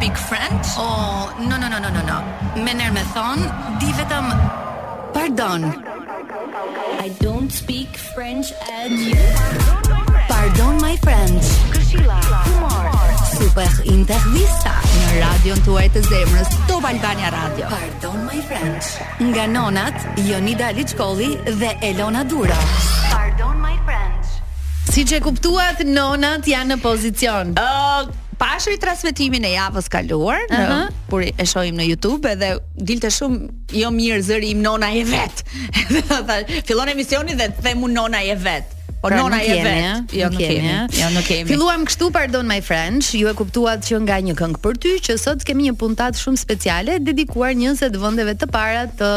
Big Friend? Oh, no, no, no, no, no, no. Me nërë me thonë, di vetëm... Pardon. I don't speak French and you Pardon, my friends. Këshilla, humor, Super intervista në radion tuaj të zemrës Top Albania Radio. Pardon my friends. Nga nonat, Jonida Liçkolli dhe Elona Dura. Pardon my friends. Si që kuptuat, nonat janë në pozicion. Ë, pashë transmetimin e javës kaluar, uh Aha. kur e shohim në YouTube edhe dilte shumë jo mirë zëri im nona e vet. Edhe thash, fillon emisioni dhe themu nona e vet. Po Pra, nona nuk e jemi, vet. eh? Jo Nuk nuk jemi, kemi. eh? Jo nuk kemi. Filluam kështu Pardon My Friends, ju e kuptuat që nga një këngë për ty që sot kemi një puntat shumë speciale dedikuar 20 vendeve të para të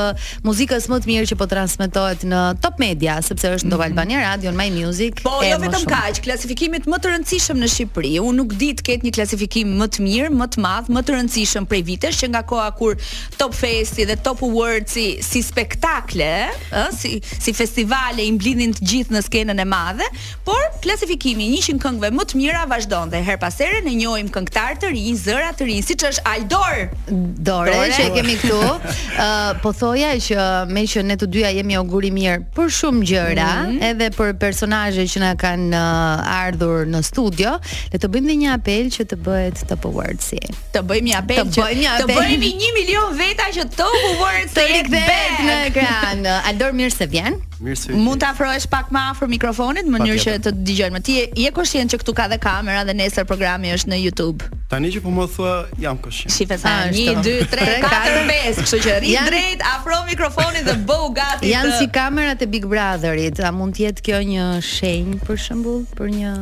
muzikës më të mirë që po transmetohet në Top Media, sepse është Top Albania Radio në My Music. Mhm. Po, e jo më vetëm shumë. kaq, klasifikimet më të rëndësishëm në Shqipëri. Unë nuk di të ketë një klasifikim më të mirë, më të madh, më të rëndësishëm prej vitesh që nga koha kur Top Festi dhe Top Awardsi si spektakle, ë, si si festivale i mblidhin të gjithë në skenën e madhe, por klasifikimi i 100 këngëve më të mira vazhdon dhe her pas here ne njohim këngëtar të rinj, zëra të rinj, siç është Aldor. Dore, Dore. që e kemi këtu. Ë po thoja që me që ne të dyja jemi augur i mirë për shumë gjëra, Mhm. edhe për personazhe që na kanë uh, ardhur në studio, le të bëjmë dhe një apel që të bëhet Top Awards-i. Të bëjmë një apel, Të që- bëjmë një të apel. bëjmë 1 milion veta që Top Awardsi Të jetë rikthehet back. në ekran. Aldor mirë se vjen. Mirë se Mund të afrohesh pak më afër mikrofonit në mënyrë që Patjetër. të të dëgjojnë. më. Ti je- je koshient që këtu ka dhe kamera dhe nesër programi është në YouTube. Tani që po më thua jam koshient. Shife sa Ah, 1 ashtu. 2 3 4 5, kështu që rri Janë- drejt, afro mikrofonin dhe bëu gati. Janë të- si kamerat e Big Brotherit, a mund të jetë kjo një shenjë për shembull për një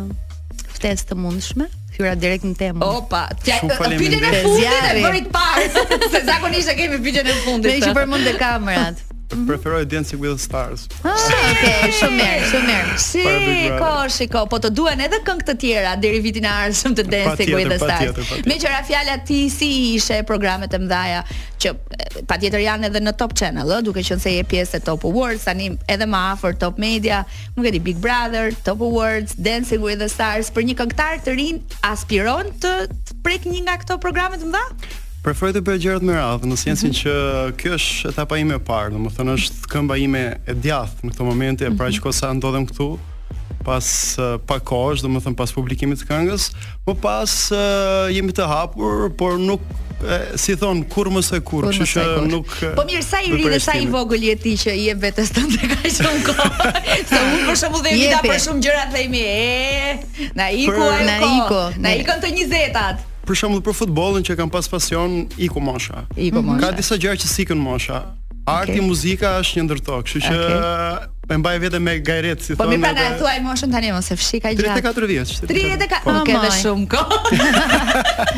ftesë të mundshme? Hyra direkt në temë. Opa, tja- Shumë faleminderit. pyetjen e fundit e Zjarri. bërit parë, se zakonisht e kemi pyetjen e Me që fundit. përmend e kamerat. Preferoj Dancing with the Stars. Ah, okay, shumë mirë, shumë mirë. Para Big Shiko, Brother. shiko, po të duhen edhe këngë të tjera deri vitin e ardhshëm të Dancing Patjetër, with the Stars. patjetër, patjetër. Me qëra fjala ti si ishe programet e mëdhaja që e, patjetër janë edhe në Top Channel, ë, duke qenë se je pjesë e Top Awards, tani edhe më afër Top Media, nuk e di Big Brother, Top Awards, Dancing with the Stars, për një këngëtar të rin aspiron të, të prek një nga këto programe të mëdha? Preferoj të bëj gjërat me radhë, në Mhm. sensin që kjo është etapa ime e parë, domethënë është këmba ime e djathtë në këtë momente, pra Mhm. që kosa ndodhem këtu pas eh, pa kohësh, domethënë pas publikimit të këngës, më pas eh, jemi të hapur, por nuk eh, si thon kur më se kur, Kur kështu mos e që kur. nuk eh, Po mirë, sa i ri dhe sa i përpreshtimi. vogël je ti që je vetes tënde ka shumë kohë. Se unë për shembull dhe Evita Jepi. për shumë gjëra themi, e, na iku Po, Për- ajo Na kohë, iku, Na mirë. ikën të 20-tat. Për shembull për futbollin që kam pas pasion, iku mosha. Mhm. Iku mosha. Ka disa gjëra që sikën mosha. Arti, muzika është një ndërto, kështu që e mbaj veten me gajret, si Po thonë. mirë pra na edhe- thuaj moshën tani mos e fshi ka gjë. 34 vjeç. 34. Po. Nuk ke dhe Amaj. shumë kohë.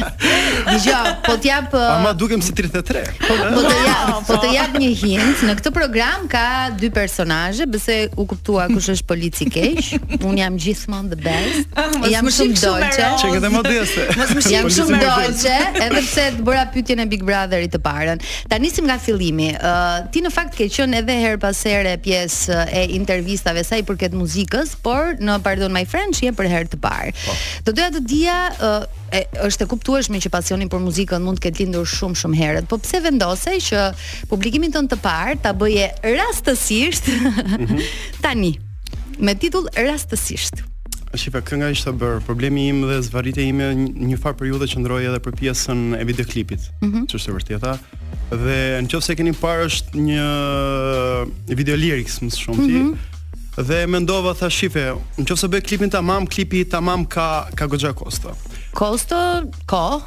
Dgjoj, po t'jap uh, Ama dukem si 33. Po, po të jap, po të jap një hint, në këtë program ka dy personazhe, besoj u kuptua kush është polici keq. Un jam gjithmonë the best. Ah, mos jam më shih shumë shumë e dolçe. roz. Çe këtë modeste. po, Mos më shih Jam Polici shumë me roz. dolçe, edhe pse të bëra pyetjen e Big Brotherit të parën. Ta nisim nga fillimi. Ë ti në fakt ke qenë edhe her pas here pjesë e intervistave sa i përket muzikës, por në Pardon My Friend je për herë të parë. Do doja të dija ë e, është e kuptueshme që pasioni për muzikën mund të ketë lindur shumë shumë herët, po pse vendose që publikimin tënd të parë ta bëje rastësisht tani me titull rastësisht. Shipa, kënga ishte bër. Problemi im dhe zvarritja ime një një farë periudhë qëndroi edhe për pjesën e videoklipit, mm është e vërteta. Dhe në qoftë se keni parë është një video lyrics më së shumti. Dhe mendova tha shife, në qoftë se bëj klipin tamam, klipi tamam ka ka goxha kosto. Kosto, ko,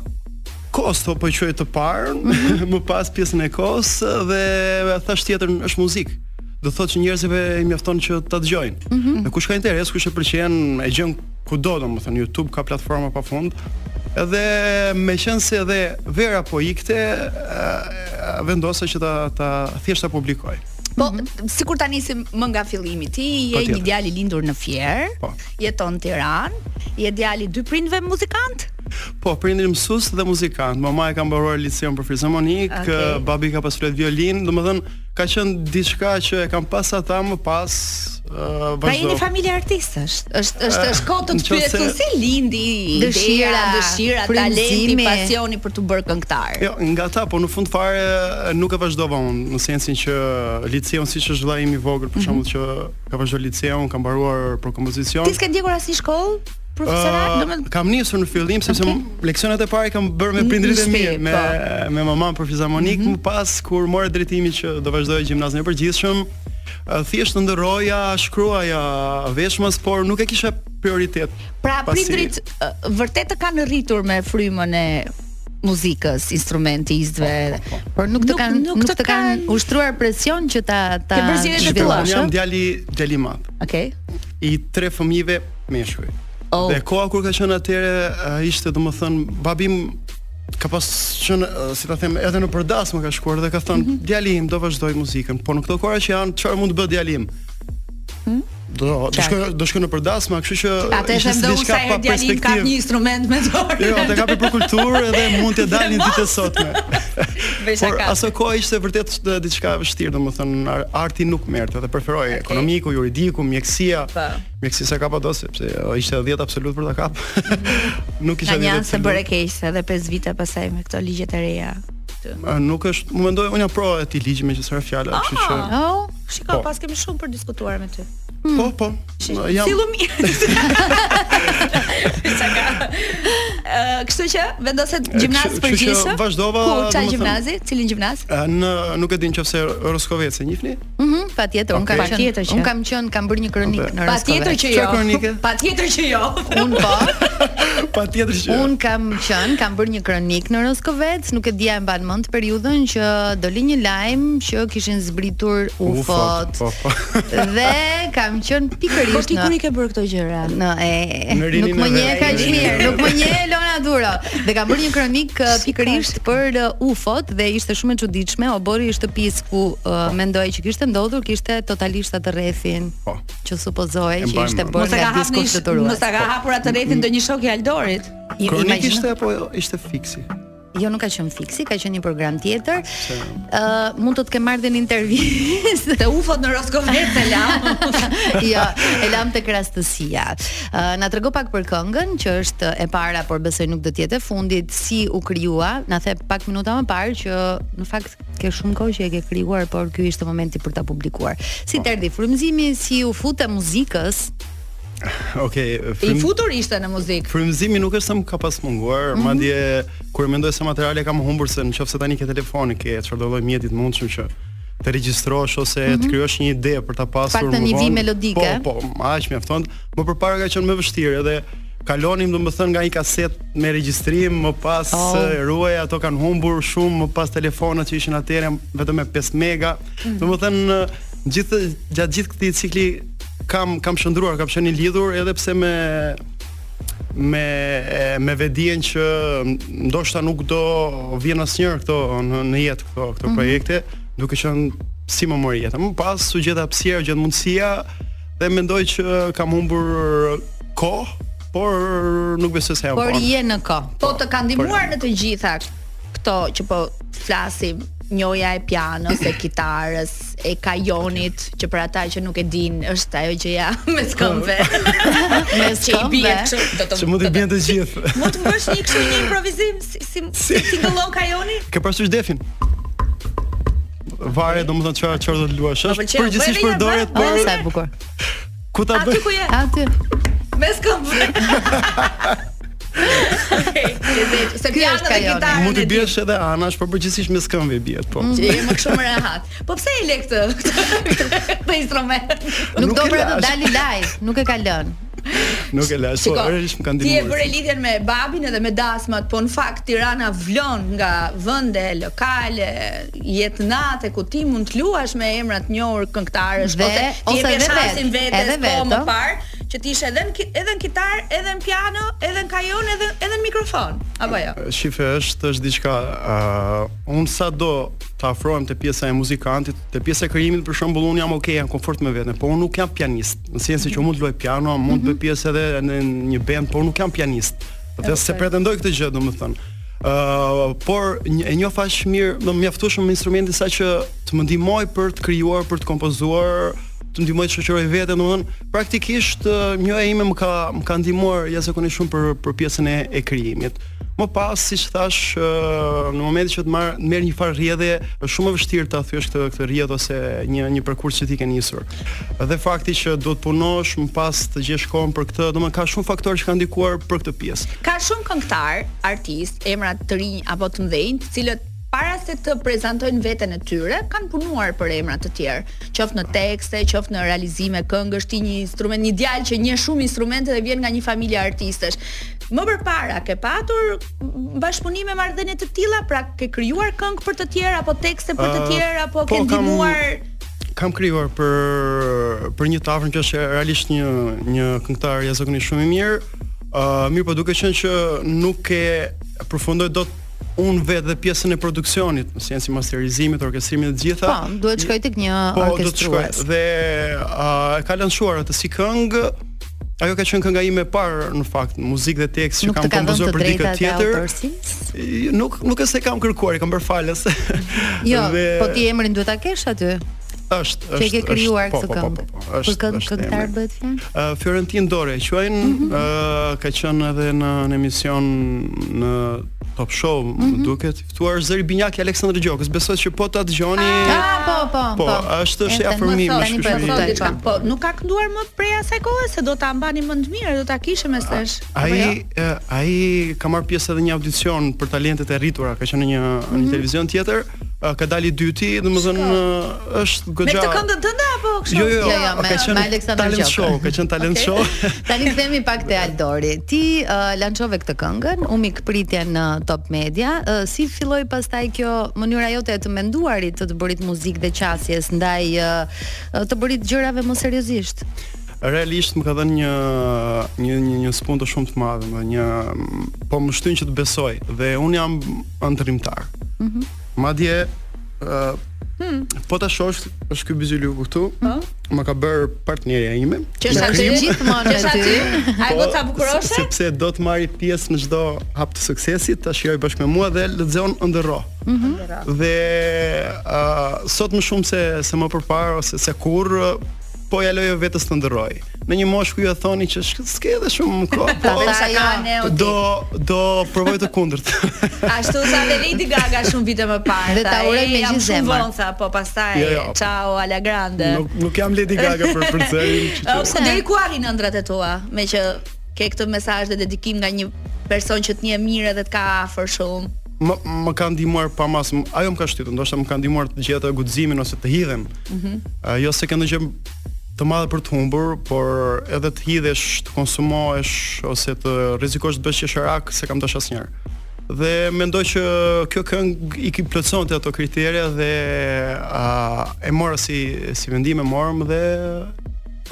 Kosto po e quaj të parë, më pas pjesën e kos dhe thash tjetër është muzikë. Do thotë që njerëzve i mjafton që ta dëgjojnë. Dhe kush ka interes, kush e pëlqen, e gjen kudo, domethënë YouTube ka platforma pafund. Edhe me qenë se edhe Vera po ikte, e, vendosa që ta ta thjesht ta publikoj. Po, Mhm. sikur ta nisim më nga fillimi. Ti je Patjetër. një djalë i lindur në Fjer, Po. jeton në Tiranë, je djalë i dy prindve muzikant? Po, prindri mësues dhe muzikant. Mama e ka mbaruar liceun për fizharmonik, Okej. okay. babi ka pas flet violin, domethënë ka qenë diçka që e kam pas ata më pas uh, vazhdo. Pra jeni familje artistësh. Është është është kohë të në të qoftë pyet se- ku si lindi ideja, Dëshira, dëshira, talenti, frymëzimi. pasioni për të bërë këngëtar. Jo, nga ta, po në fund fare nuk e vazhdova unë, në sensin që liceun siç është vëllai im i vogël, Mhm. për shembull që ka vazhduar liceun, ka mbaruar për kompozicion. Ti s'ke ndjekur asnjë shkollë profesional, Ë, domethënë kam nisur në fillim sepse m- leksionet e para i kam bërë me prindërit e shtëpi, mi, me po. Mhm. me mamam për fizharmonik, më pas kur morë drejtimin që do vazhdoj gjimnazin e përgjithshëm, ë, thjesht ndërroja, shkruaja veshmës, por nuk e kisha prioritet. pra pasi- prindrit ë, vërtet të kanë rritur me frymën e muzikës, Po, instrumentistëve. Por nuk të kanë nuk, të kanë ushtruar presion që ta ta Ke bërë zgjedhjet e zhvillosh, tua. Unë ëh? jam djali djali i madh. Okej. i tre fëmijëve meshkuj. Oh. Dhe koha kur ka qenë atëre uh, ishte domethën babim ka pas qenë uh, si ta them edhe në përdas më ka shkuar dhe ka thënë Mhm. djali im do vazhdoj muzikën, por në këto kohra që janë çfarë mund të bëj djali im? Do do shkoj do shkoj në përdas, më kështu që Hmm? Atë e ishte them si do diçka usa pa e djalin ka perspektivë. një instrument me dorë. Jo, ata kapi për kulturë edhe mund të dalin ditën e sotme. Bëj Por shaka. aso kohë ishte vërtet sh- diçka e vështirë, domethënë ar- arti nuk merrte dhe preferoi ekonomiku, juridiku, mjekësia. Po. Mjekësia s'e kapa dot sepse o, ishte 10 absolut për ta kap. nuk Ka isha një 10 anë se bëre absolut. keq se edhe 5 vite pasaj me këto ligjet e reja. Ë, Nuk është, më mendoj unë jam pro e ti ligj me qësëra fjala, kështu që Oh, Shiko, Po. pas kemi shumë për diskutuar me ty. po po. Jam Sillu mirë. Çka? Ë, kështu që vendoset gjimnaz kështu- për kështu që gjithë. vazhdova, Ku çaj domethënë. gjimnazi? Cilin gjimnaz? Ë, në nuk e di nëse Roskovec e njihni? Mhm, patjetër, un kam Okej. qenë. Patjetër që. Un kam qenë, kam bërë një kronik Okej. në Roskove. Patjetër që Çfarë kronike? jo. Patjetër që jo. un po. Patjetër që. Un kam qen, kam bërë një kronik në Roskovec, nuk e dia e mban mend periudhën që doli një lajm që kishin zbritur Ufot, ufot. po, po. Dhe kam qen Po pikërisht ti kur në i ke bërë këto gjëra? Në e, Në rinin nuk më e nje vet. kaq Në rinin e mirë, vet. nuk më nje Lona Duro. Dhe kam bërë një kronik uh, pikërisht për uh, UFO-t dhe ishte shumë e çuditshme. Obori i shtëpisë ku uh, mendoj që kishte ndodhur, kishte totalisht atë rrethin Po. që supozoj E që mbaj ishte mend. bërë Mos e ka nga hapur, disku mos fluturues. e ka hapur atë rrethin ndonjë shok i Aldorit. I- Kronik imagjino- ishte apo jo? ishte fiksi. Jo, nuk ka qenë fiksi, ka qenë një program tjetër. Ë mund të të ke marrë dhe në intervistë. Te ufot në Roskovec e la. jo, e lam tek rastësia. Ë na trego pak për këngën që është e para, por besoj nuk do të jetë e fundit, si u krijua. Na the pak minuta më parë që në fakt ke shumë kohë që e ke krijuar, por ky ishte momenti për ta publikuar. Si terdhi frymëzimi, si u futë muzikës? Okej, I frym- futur ishte në muzikë. Frymëzimi nuk është se më ka pas munguar, Mhm. madje kur mendoj se materiale kam humbur se nëse tani ke telefoni, ke çfarëdo lloj mjeti të mundshëm që të regjistrosh ose të krijosh një ide për ta pasur Paktën më Mhm. një vi vonë. melodike. Po, po, aq mjafton. Më përpara ka qenë më vështirë edhe kalonim domethënë nga një kaset me regjistrim, më pas Oh. e, ruaj ato kanë humbur shumë, më pas telefonat që ishin atëherë vetëm me 5 mega. Mhm. Domethënë gjithë gjatë gjithë këtij cikli kam kam shndruar, kam qenë i lidhur edhe pse me me e, me vedien që ndoshta nuk do vjen asnjëherë këto në, në jetë këto këto Mhm. projekte, duke qenë si më mori jeta. Më pas u gjeta hapësira, u gjet mundësia dhe mendoj që kam humbur kohë, por nuk besoj se jam. Por vonë. je në kohë. Po të ka ndihmuar në të gjitha këto që po flasim njoja e pianos, e kitarës, e kajonit, që për ata që nuk e din, është ajo që ja me këmbëve. me që i bie këmbëve. kështu do të që mund të bjen të gjithë. Mund të bësh një kështu një improvizim si si, si tingëllon kajoni? Ke parasysh defin? Vare, domethënë çfarë çfarë do të luash. Është pëlqeu. përgjithsisht Po, Bëri një, përdoret, bëri. por Po, sa e bukur. ku ta bëj? Aty ku je? Aty. Me këmbëve. Okej, lezetë. Se Ky piano është dhe kajoni. kitarën. Mund të e Mm. di. bjesh edhe anash, por përgjithsisht me skëmbë bjesh, po. Që je më shumë rehat. Po pse e le këtë këtë instrument? Nuk, Nuk do e pra të lash. dali live, nuk e ka lënë. Nuk e lash, po, realisht më kanë ti e ndihmuar. bëre lidhjen me babin edhe me dasmat, po në fakt Tirana vlon nga vende lokale, jetnate ku ti mund të luash me emra të njohur këngëtarësh po Dhe- ti ose e ke edhe shansin vet, vetes edhe po vet, më o. parë që ti ishe edhe në ki- edhe në kitar, edhe në piano, edhe në kajon, edhe edhe në mikrofon. Apo jo. Shife është është diçka uh, unë sa do të afrohem te pjesa e muzikantit, te pjesa e krijimit për shembull unë jam okay, jam komfort me veten, por unë nuk jam pianist. Në sensin që unë mund të luaj piano, mund të bëj pjesë edhe në një band, por unë nuk jam pianist. Dhe se pretendoj këtë gjë, domethënë. Ë, por një, e njoh faq mirë, më mjaftueshëm instrumenti sa që të më ndihmoj për të krijuar, për të kompozuar, të ndihmoj të shoqëroj veten, domethënë praktikisht ë, njoja ime më ka më ka ndihmuar jashtëzakonisht shumë për për pjesën e, e krijimit. Më pas, siç thash, ë, në momentin që të marr merr një farë rrjedhje, është shumë e vështirë ta thyesh këtë këtë rrjedh ose një një përkurs që ti ke nisur. Dhe fakti që duhet punosh, më pas të gjesh kohën për këtë, domethënë ka shumë faktorë që kanë ndikuar për këtë pjesë. Ka shumë këngëtar, artist, emra të rinj apo të mëdhenj, të cilët para se të prezantojnë veten e tyre, kanë punuar për emra të tjerë, qoftë në tekste, qoftë në realizime këngësh, ti një instrument, një djalë që njeh shumë instrumente dhe vjen nga një familje artistesh. Më përpara ke patur bashkëpunime marrëdhënie të tilla, pra ke krijuar këngë për të tjerë apo tekste për të Ë, tjerë apo po, ke kam- ndihmuar kam krijuar për për një tavern që është realisht një një këngëtar jashtëzakonisht shumë i mirë. Uh, mirë, po duke qenë që nuk e përfundoj dot unë vetë dhe pjesën e produksionit, në sensin masterizimit, orkestrimit dhe gjitha. Po, duhet shkoj tek një do të po, shkoj. orkestrues. Dhe uh, e ka lançuar atë si këngë. Ajo ka qenë kënga ime e parë në fakt, muzikë dhe tekst që Nuk kam të ka dhënë kompozuar të për dikë drejtat e tjetër. autorsisë. I- Nuk nuk e se kam kërkuar, i kam bërë falës. Jo, Dhe- po ti emrin duhet ta kesh aty. është Që e ke është- krijuar po, këtë po, po, këngë. po, po, Për është- këngë është këngëtar Mhm. emri. bëhet fjalë. Ë, Fiorentin Dore, e quajnë, ë, ka qenë edhe në në emision në Top Show, Mhm. më duket, i ftuar Zëri Binjak i Aleksandr Gjokës. Besoj që po ta dëgjoni. Ah, po, po, Po, po. është E, është tani i më afërmim thot, tani është po e kështu. kuptoj. Thotë diçka, po nuk ka kënduar më prej asaj kohe se do ta mbani më të mirë, do ta kishim e sesh. ah, apo jo? Ai e, ai uh, ka marrë pjesë edhe një audicion për talentet e rritura, ka qenë në një në Mhm. një televizion tjetër, e, ka dalë i dyti, domethënë e, është Me goxha. këtë këngën tënde apo kështu? Jo, jo, jo, Jo, jo, me- ka me qenë Aleksandr talent Gjokën. show, ka qenë talent show. Tani kthehemi pak te Aldori. Ti uh, lançove këtë këngën, u mik pritje në Top Media. Uh, si filloi pastaj kjo mënyra jote e të menduarit të të bërit muzikë dhe qasjes ndaj uh, të bërit gjërave më seriozisht? realisht më ka dhënë një një një, një spuntë shumë të madhe, më një po më shtyn që të besoj dhe un jam antërimtar. Mhm. Madje ë po ta shohësh është ky Bizyliu këtu. Po? Më ka bër partnerja ime. Që Në është aty krim? Gjithmonë që është aty. aty. Ai Po, goca bukuroshe? Sepse do të marri pjesë në çdo hap të suksesit, ta shijoj bashkë me mua dhe lexon ëndërro. Mhm. Dhe uh, sot më shumë se se më përpara ose se kur ë, po ja lojë vetes të ndërroj. Në një moshë ku ju e thoni që "Shk- s'ke edhe shumë kohë, po Ta vesh Shaka ajo. ne o ti. do do provoj të kundërt. Ashtu sa dhe Lady Gaga shumë vite më parë. Dhe ta tha, uroj "E, me jam gjithë shumë zemër." vonë, tha, po pastaj Jo, jo. ciao alla grande. nuk nuk jam Lady Gaga për për zërin. që Ë, që- Po deri ku arrin ëndrat e tua, me që ke këtë mesazh dhe dedikim nga një person që të njeh mirë dhe të ka afër shumë. më më ka ndihmuar pa mas, m- ajo më ka shtytur, ndoshta më ka ndihmuar të gjeta guximin ose të hidhem. Ëh, jo se kanë gjë të madhe për të humbur, por edhe të hidhesh, të konsumohesh ose të rrezikosh të bësh qesharak se kam dash asnjëherë. Dhe mendoj që kjo këngë i ki plotësonte ato kritere dhe a, e mora si si vendim e morëm dhe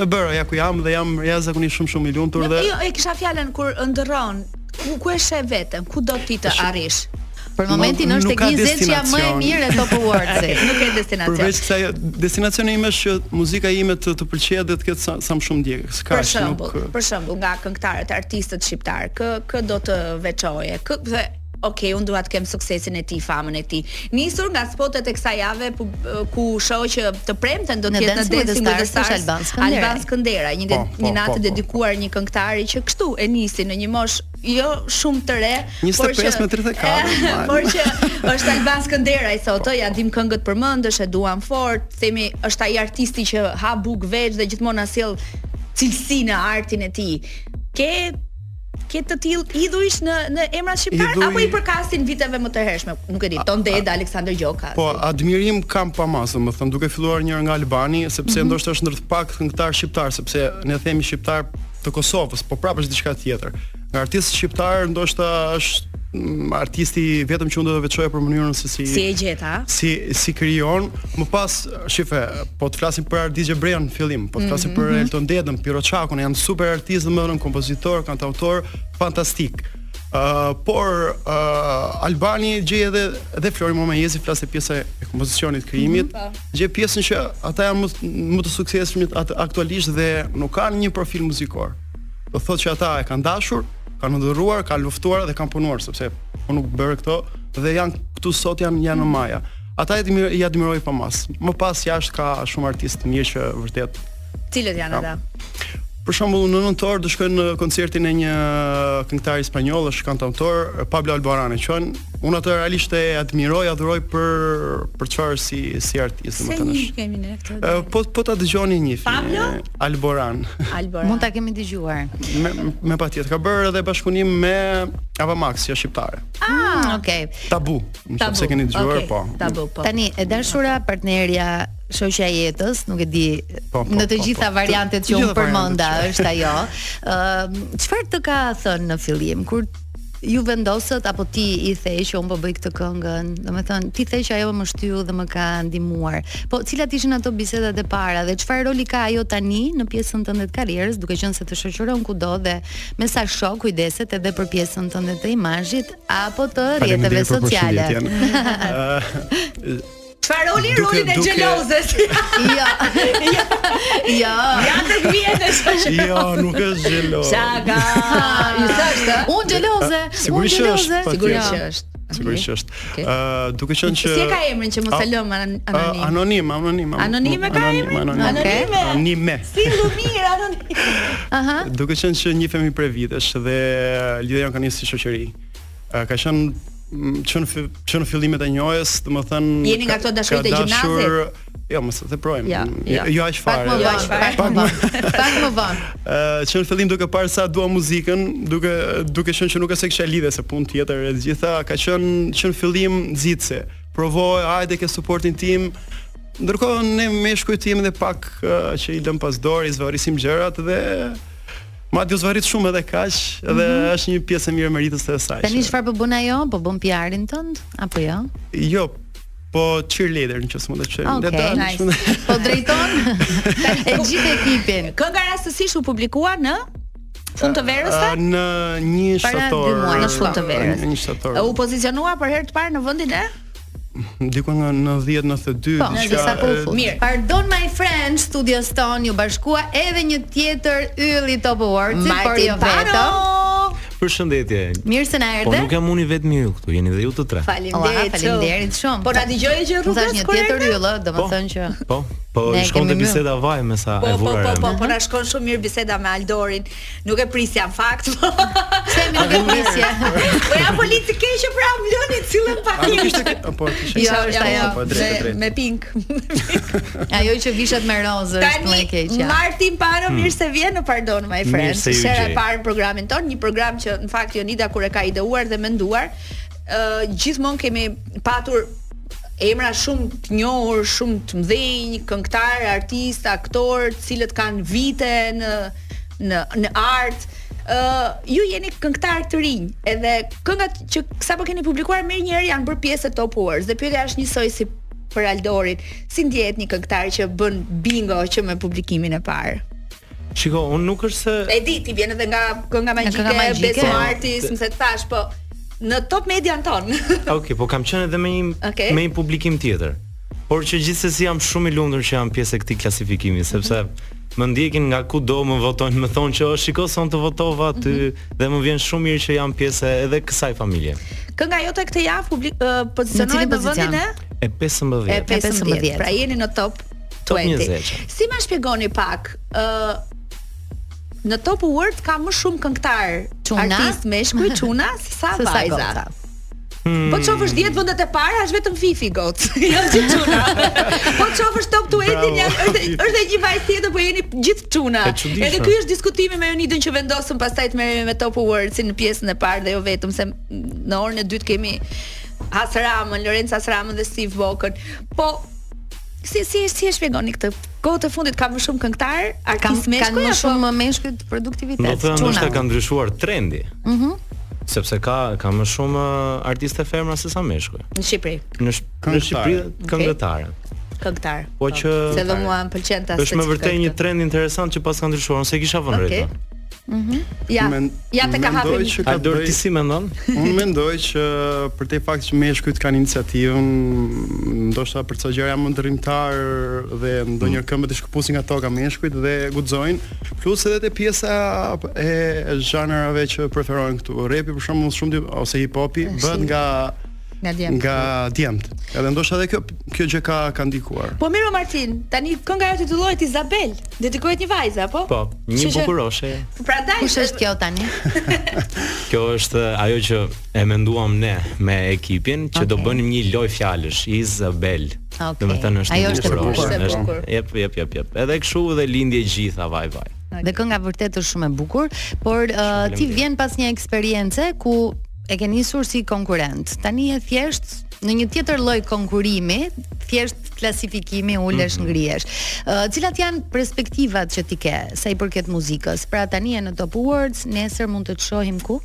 e bëra ja ku jam dhe jam jashtëzakonisht shumë shumë i lumtur dhe Jo, e kisha fjalën kur ëndrron, ku ku e sheh veten, ku do ti të arrish? Për momentin Nuk- është nuk tek ka 20 që jam më e destinacion. mirë e Top Awards-it. Nuk e destinacion. Përveç kësaj destinacioni im është që muzika ime të të pëlqejë dhe të ketë sa, sa më shumë ndjekës. Kaq Për shembull, nuk për shembull nga këngëtarët, artistët shqiptar, kë kë do të veçoje? Kë dhe ok, unë dua të kem suksesin e ti, famën e ti. Nisur nga spotet e kësaj jave pu, ku shoh që të premten do Në të jetë në Dancing with the Dancing with the Stars, Stars, është Alban Skënderaj. Alban Skënderaj, një, de, Po, po, një natë po, po. dedikuar një këngëtari që kështu e nisi në një moshë jo shumë të re, 25 me 34, normal. por që është Alban Skënderaj sot, ë, ja dim këngët përmendësh, e duam fort, themi është ai artisti që ha buk veç dhe gjithmonë na sjell cilësi në artin e tij. Ke ke të tillë idhujsh në në emrat shqiptar Idhuj- apo i përkasin viteve më të hershme? Nuk e di, Ton Deda, Aleksandr Gjoka. Po, admirim kam pa masë, më thënë, duke filluar njërë nga Albani, sepse Mhm. ndoshta është ndër të pak këngëtar shqiptar, sepse ne themi shqiptar të Kosovës, po prapë është diçka tjetër. Nga artisti shqiptar ndoshta është mm, artisti vetëm që unë do të veçoja për mënyrën se si si e gjeta? si si krijon. Më pas shife, po të flasim për Ardi Xhebrian në fillim, po të flasim për Elton Dedën, Piro Çakun, janë super artistë, domethënë kompozitor, kantautor, fantastik. Uh, por uh, Albani gjej edhe edhe Flori Momajezi flas te pjesa e kompozicionit krijimit. gjej pjesën që ata janë më, më të suksesshmit atë- aktualisht dhe nuk kanë një profil muzikor. Do thotë që ata e kanë dashur, kanë ndërruar, kanë luftuar dhe kanë punuar sepse unë nuk bërë këto dhe janë këtu sot janë janë në maja. Ata i admir- i admiroj pa mas. Më pas jashtë ka shumë artistë mirë që vërtet Cilët janë ata? Për shembull në nëntor do shkojnë në koncertin e një këngëtari spanjoll, është kantautor Pablo Alborane, quhen. Unë atë realisht e admiroj, adhuroj për për çfarë si si artist, Se domethënë. një është. kemi ne këto. Ë, Po po ta dëgjoni një fjalë. Pablo? Alboran. Albora. Mund ta kemi dëgjuar. Me, me patjetër ka bërë edhe bashkëpunim me Avamax, që është shqiptare. Ah, okay. Tabu, më Tabu. shumë se keni dëgjuar, Okej, po. Tabu, po. Tani e dashura partnerja shoqja e jetës, nuk e di Po, po, në të po, gjitha po. variantet Të- që të unë gjitha përmenda variantet është ajo. Ëm çfarë të ka thënë në fillim kur ju vendosët apo ti i the që unë po bëj këtë këngën, domethënë ti the që ajo më shtyu dhe më ka ndihmuar. Po cilat ishin ato bisedat e para dhe çfarë roli ka ajo tani në pjesën tënde të karrierës, duke qenë se të shoqëron kudo dhe me sa shoh kujdeset edhe për pjesën tënde të imazhit apo të rrjeteve Faleminderit për sociale. përshëndetjen. Çfarë roli Duke- rolin e duke- xhelozes? Jo. jo. Ja të vjen e shoqë. Ë, jo, nuk është gjelo. Shaka. Ju thashë? Unë xheloze. Sigurisht që unë është, xheloze. po, Sigurisht tjetër. që është. Sigurisht që është. Ë, Okej. duke qenë që Si e ka emrin që mos e lëm anon- Ë, anonim? Anonim, anonim. am- Anonime ka emrin? Anonim. Anonime. Anonime. Si Lumir anonim. Aha. Duke qenë që një femi prej vitesh dhe uh, lidhja jonë ka nisë si shoqëri. Ë, Ka qenë m, që në fi- që në fillimet e njohjes, domethënë Jeni nga ka- këto dashurit ka e dashur- gjimnazit? Jo, mos e theprojmë. Ja, ja. Jo aq Pak fare. më Jo, vonë, aq fare. pak më vonë. Pak më vonë. Ë, që në fillim duke parë sa dua muzikën, duke duke qenë që nuk e se kisha lidhje se punë tjetër e të gjitha, ka qenë që në fillim nxitse. Provoj, hajde ke suportin tim. Ndërkohë ne me shkujtim dhe pak ë, që i lëm pas dorë, i zvarisim gjërat dhe madje u zvarit shumë edhe kaq, edhe Mhm. është një pjesë e mirë e meritës së saj. Tani që- çfarë po bën ajo? Po bën PR-in tënd apo jo? Jo, po cheerleader në qësë mund të qëllë Okej, nice. Po drejton e gjithë ekipin. Kënga rastësisht u publikua në fund të verës ta? Në një Para dy shtator muaj, në fund të verës. Në një shtator U pozicionua për herë të parë në vendin e? Diku nga 90 92 Po, diçka, disa kohë e, fut. mirë. Pardon my friend, studios ton ju bashkua edhe një tjetër ylli Top Awards, por jo vetëm. Përshëndetje. Mirë se na Po erdhe. nuk jam unë i vetmi ju këtu, jeni edhe ju të tre. Oha, Faleminderit. faleminderit shumë. Po na dëgjoj që Nuk rrugës është një korrekte? tjetër yllë, Po. domethënë që Po, po Ne shkon kemi te mbyll. biseda vaj me sa Po, e po, po, vurarem. po, Mhm. po, na shkon shumë mirë biseda me Aldorin. Nuk e prisja në fakt. pse më nuk e prisje. Po ja polici keqe pra mloni cilën pa A nuk ishte kë- po kishte. Jo, është ajo. po, drejt, me- drejt. Me pink. Ajo që vishet me rozë është më e Tani keqja. Hmm. Martin Pano mirë se vjen në Pardon My Friend. Mirë se ju Shera e gjej. parë në programin ton, një program që në fakt Jonida kur e ka ideuar dhe menduar, ë gjithmonë kemi patur emra shumë të njohur, shumë të mëdhenj, këngëtar, artist, aktor, të cilët kanë vite në në në art. ë ju jeni këngëtar të rinj, edhe këngat që sapo keni publikuar mirë njëherë janë bërë pjesë e Top Awards dhe pyetja është njësoj si për Aldorin, si ndjehet një këngëtar që bën bingo që me publikimin e parë? Shiko, unë nuk është se E di, ti vjen edhe nga kënga magjike, kënga magjike. Beso Po, Artis, te- më se thash, po në top median ton. Okej, po kam qenë edhe me një Okej. me një publikim tjetër. Por që gjithsesi jam shumë i lumtur që jam pjesë e këtij klasifikimi, sepse më ndjekin nga kudo, më votojnë, më thonë që "O, shiko son të votova aty dhe më vjen shumë mirë që jam pjesë edhe kësaj familje. Kënga jote këtë javë publik uh, Në pozicionoi cilin në vendin e E 15. e 15. 15. Pra jeni në top Top 20. 20. Si më shpjegoni pak, ë në Top Award ka më shumë këngëtar, Çuna? artist meshkuj çuna sesa Se sa vajza. goca. Po të shofësh 10 vendet e para, është vetëm Fifi Goc. Janë gjithë çuna. po të shofësh top 20 janë Bravo, është është edhe një vajzë tjetër, po jeni gjithë çuna. E çuditshme. Edhe ky është diskutimi me Jonidën që vendosëm pastaj të merremi me Top Awards në pjesën e parë dhe jo vetëm se në orën e dytë kemi Hasramën, Lorenz Hasramën dhe Steve Vokën. Po si si si e shpjegoni këtë? Kohë të fundit ka më shumë këngëtar, Kam artist meshkuj kanë më apo- shumë meshkujt Do produktivitet. të thënë çuna. ndoshta ka ndryshuar trendi. Mhm. sepse ka ka më shumë uh, artiste femra se sa meshkuj. në Shqipëri, Në Shq- Këngëtare. në Shqipëri këngëtare. këngëtar. Po që se do mua më pëlqen ta është se me që vërtet këngë. një trend interesant që pas ka ndryshuar, unë se kisha vënë Okej. Mhm. okay. Ja, Po, Men- ja te ka mendoj hapur. që ka Aldor bëj- ti si mendon? Unë mendoj që për te fakt që meshkujt kanë iniciativën, ndoshta për ca gjëra janë më ndërrimtar dhe ndonjë këmbët i shkëpusin nga toka meshkujt dhe guxojnë, plus edhe te pjesa e zhanrave që preferojnë këtu. Repi për shembull shumë di- ose hip hopi bëhet nga Nga djem. nga djemt. Edhe ndoshta edhe kjo kjo gjë ka ka ndikuar. Po mirë o Martin, tani kënga ajo titullohet Izabel. Dedikohet një vajze apo? Po, një Që pra që- bukuroshe. Prandaj Kush është kjo tani? Kjo është ajo që e menduam ne me ekipin që do Okej. bënim një lojë fjalësh Izabel. Okej. Domethënë është Ajo një është e bukuroshe, bukur. Është e është- bukur. Jep, jep, jep, jep. Edhe kështu dhe lindje gjitha vaj vaj. Dhe kënga vërtet është shumë e bukur, por uh, ti faleminderit. vjen pas një eksperiencë ku e ke nisur si konkurrent. Tani e thjesht në një tjetër lloj konkurrimi, thjesht klasifikimi ulesh ngrihesh. Uh, cilat janë perspektivat që ti ke sa i përket muzikës? Pra tani je në Top Awards, nesër mund të të shohim ku?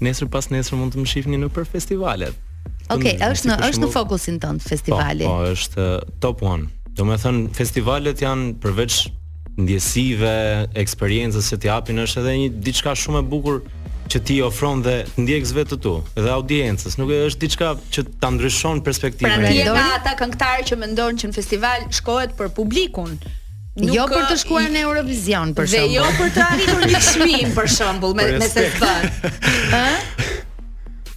Nesër pas nesër mund të më shihni nëpër festivalet. Okej, Të- është në si për është në shembull- fokusin tënd festivali. Po, po është uh, top 1. Do me thënë, festivalet janë përveç ndjesive, eksperiencës që t'i japin, është edhe një diçka shumë e bukur që ti ofron dhe ndjekësve të tu, dhe audiencës. Nuk e- është diçka që ta ndryshon perspektivën. Pra e ti je jetës. nga ata këngëtarë që mendon që në festival shkohet për publikun. Nuk, jo për të ë, shkuar i- në Eurovision për Dhe shembull. jo për të arritur një çmim për shembull me Për me se respekt. bën.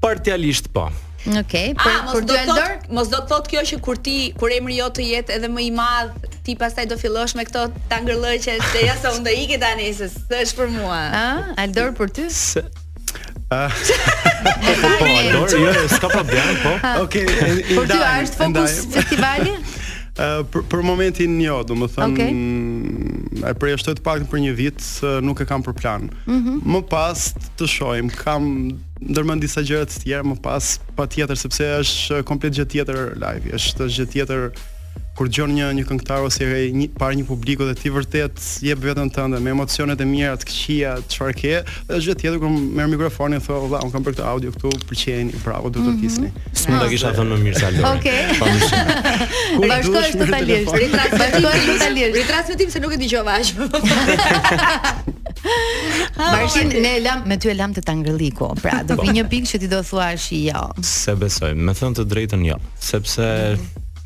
Partialisht po. Okej, për Ah, mos për do dy të Aldor? thot, mos do të thot kjo që kur ti kur emri jot të jetë edhe më i madh, ti pastaj do fillosh me këto tangërlloj që se ja se unë do iki tani se s'është për mua. Ah, Aldor për ty? Se, Ah. po, Aldor, jo, s'ka problem, po. Okej, okay, Për ty a është fokus festivali? Ë, për, për momentin jo, do më thënë Okej. E përjeshtoj të paktën për një vit ë, Nuk e kam për plan Mhm. Më pas të shohim Kam ndërmend disa gjëra të tjera Më pas pa tjetër Sepse është ë, komplet gjë tjetër live është është gjë tjetër kur dëgjon një një këngëtar ose e një para një publiku dhe ti vërtet jep veten tënde me emocionet e mira, të këqija, çfarë ke, dhe është gjë tjetër kur merr mikrofonin e thua, "Valla, un kam për këtë audio këtu, pëlqeni, bravo, duhet Mhm. të kisni." S'mund ta kisha thënë më mirë se Aldor. Okej. Kur duhesh, Bashkohesh merr totalisht. telefon. Bashkohesh totalisht. Ritransmetim se nuk e dëgjova aq. Martin, ne e lam me ty e lam të tangërlliku. Pra, do vi një pikë që ti do thuash jo. Se besoj, me thënë të drejtën jo, sepse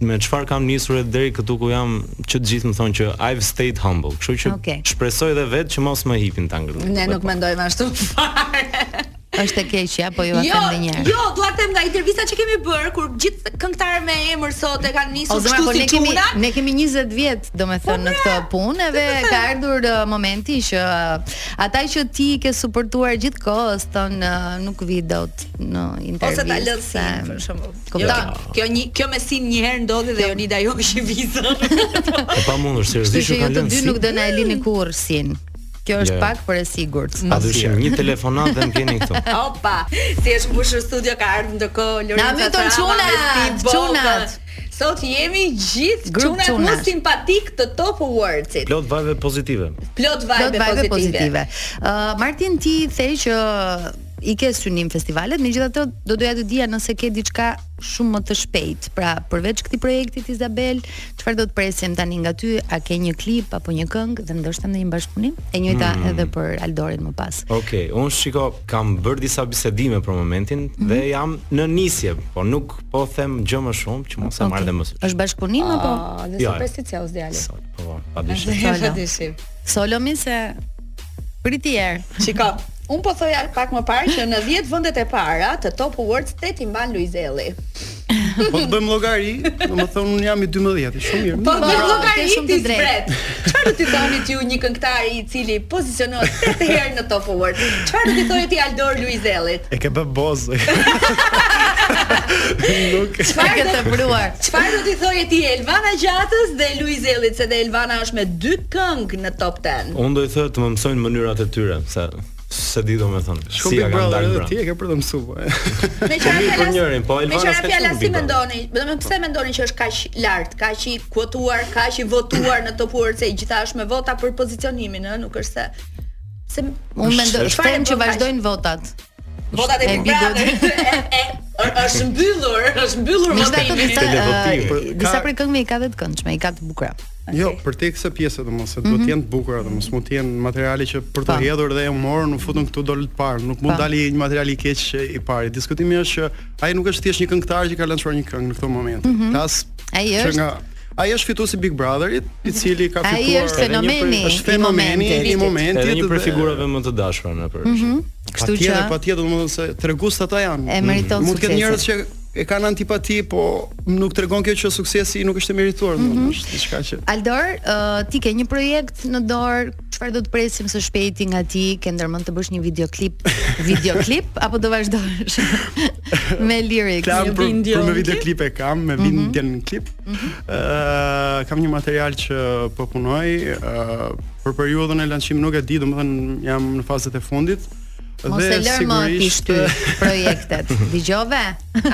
me çfarë kam nisur edhe deri këtu ku jam, që të gjithë më thonë që I've stayed humble. Kështu që Okej. shpresoj edhe vetë që mos më hipin ta ngrënë. Ne nuk mendojmë ashtu fare. Është e keqja, po ju a Jo, them edhe një herë. jo, dua të them nga intervista që kemi bër kur gjithë këngëtarë me emër sot e kanë O nisur zemra, kështu po Po, ne si kemi çuna. ne kemi 20 vjet, domethënë në këtë punë dhe ka ardhur uh, momenti që uh, ata që ti ke suportuar gjithkohës ton uh, nuk vi dot në Ose intervistë. ta lë si për shembull. Kupton? Jo, kjo një kjo me sin një herë ndodhi Jo. dhe Jonida Joshi vizën. E pa mundur Kështu seriozisht që ju ju kanë të lënë dy nuk si. do Mm. na e lini kurrë sin. Kjo është Jo. pak për e sigurt. Pa dyshim një telefonat dhe më keni këtu. Opa, si është mbushur studio ka ardhur ndërkohë Lorenza. Na mytën Trama me çunat, Steve Bogën. çunat. Sot jemi gjithë Grup çunat më çunash. simpatik të Top Awardsit. Plot vajve pozitive. Plot Plot vibe vajbe pozitive. pozitive. Ë, Martin ti the që i ke synim festivalet, megjithatë do doja të dija nëse ke diçka shumë më të shpejt. Pra, përveç këtij projekti të Izabel, çfarë do të presim tani nga ty? A ke një klip apo një këngë dhe ndoshta ndonjë bashkëpunim? E njëjta Mm. edhe për Aldorin më pas. Okej, unë shiko kam bër disa bisedime për momentin Mhm. dhe jam në nisje, po nuk po them gjë më shumë që mos e marr dhe më së. Është bashkëpunim apo Ah, dhe Jo, supersticioz djali. Po, pa dyshim. Solo. Dishim. solo mi se priti erë? Shiko, un po thoja pak më parë që në 10 vendet e para të Top Awards 8 i mban Luizelli. Po të bëjmë llogari, domethënë unë jam i 12, shumë mirë. Po me Po, ke shumë të drejtë. llogaritë zbret. Çfarë do t'i thonit ju një këngëtar i cili pozicionohet 8 herë në Top Award? Çfarë do t'i thoje ti Aldor Luizellit? E ke bë bozë. Nuk. Çfarë ke të pruar? Çfarë do t'i thoje ti Elvana Gjatës dhe Luizellit se dhe Elvana është me dy këngë në Top 10? Unë do i thoj të më mësojnë mënyrat e tyre, se se di domethënë. Shumë Big kanë Brother dalë pra. edhe brenda. ti e ke për të mësuar. Me çfarë mirë për fjalas- njërin, po Elvana Me çfarë s'ka fjala qenë si Big Brother. mendoni? Domethënë pse mendoni që është kaq lart, kaq i kuotuar, kaq i votuar në Top Award se gjithashtu me vota për pozicionimin, ë, nuk është se se Unë mendoj Çfarë them që bën kaq? vazhdojnë votat. Votat e E Big Big Brother. Brother. E- e- Ë- Është mbyllur, është mbyllur Në shtatë votimi. disa Televotimi. ë, Ka- disa prej këngëve i ka vetë këndshme, i ka të bukura. Jo, për te kësaj pjese domos, se duhet të jenë të bukura, domos mund të jenë materiale që për të Mhm. Pa. hedhur dhe e morën, nuk futën këtu dol të parë, nuk mund Pa. dali një material i keq e, i parë. Diskutimi është që ai nuk është thjesht një këngëtar që ka lançuar një këngë në këtë moment. Tas Mhm. Ai që është- nga ai është fituesi Big Brotherit, i cili ka Ai fituar është edhe një fenomeni, prej- është fenomeni i momentit. Edhe një prej dhe- figurave më të dashura në për. Mm Mhm. Kështu që Patjetër, patjetër, domethënë se tregues ata janë. E meriton Mund të ketë suksesin. njerëz që e kanë antipati, po nuk tregon kjo që suksesi nuk është e merituar, domethënë Mhm. është diçka që Aldor, ë, ti ke një projekt në dorë, çfarë do të presim së shpejti nga ti? Ke ndërmend të bësh një videoklip, videoklip apo do vazhdosh me lyrics? Klam Një për, bindje për me në videoklip e kam, me Mhm. bindjen në klip. Ëh, kam një material që po punoj, ëh, për periudhën e lançimit nuk e di, domethënë jam në fazët e fundit. Mos e lër më ti shty projektet. Dëgjove?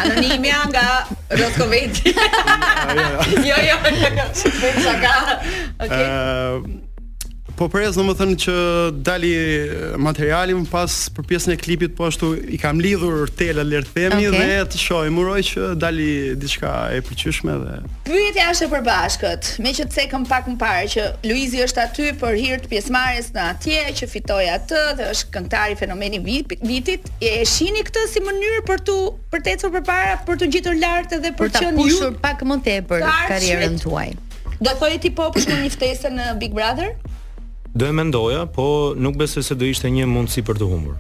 Anonimja nga Roskoveti. jo, jo. Bëj shaka. Okej. Ëh, Po pres domethënë që dali materiali më pas për pjesën e klipit po ashtu i kam lidhur tela le të themi Okej. dhe të shohim uroj që dali diçka e pëlqyeshme dhe Pyetja është e përbashkët. Me që të cekëm pak më parë që Luizi është aty për hir të pjesëmarrjes në atje që fitoi atë dhe është këngëtari fenomeni vit, vitit. E shihni këtë si mënyrë për tu për të ecur përpara, për të gjetur lart edhe Për për të ta qenë ju. pushur pak më tepër Të arshit. karrierën tuaj. Do thojë ti po për një ftesë në Big Brother? Do e mendoja, po nuk besoj se do ishte një mundësi për të humbur.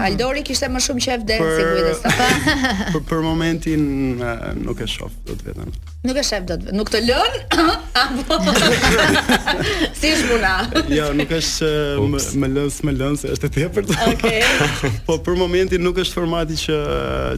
Aldori kishte më shumë qef dancing Për- with the stars. për, për momentin ëh, nuk e shoh do të vetën. Nuk e shef dot. Nuk të lën? Apo si zhmuna? Jo, nuk është ëh, më, më lëns, më lëns, është e tepërt. Okej. po për momentin nuk është formati që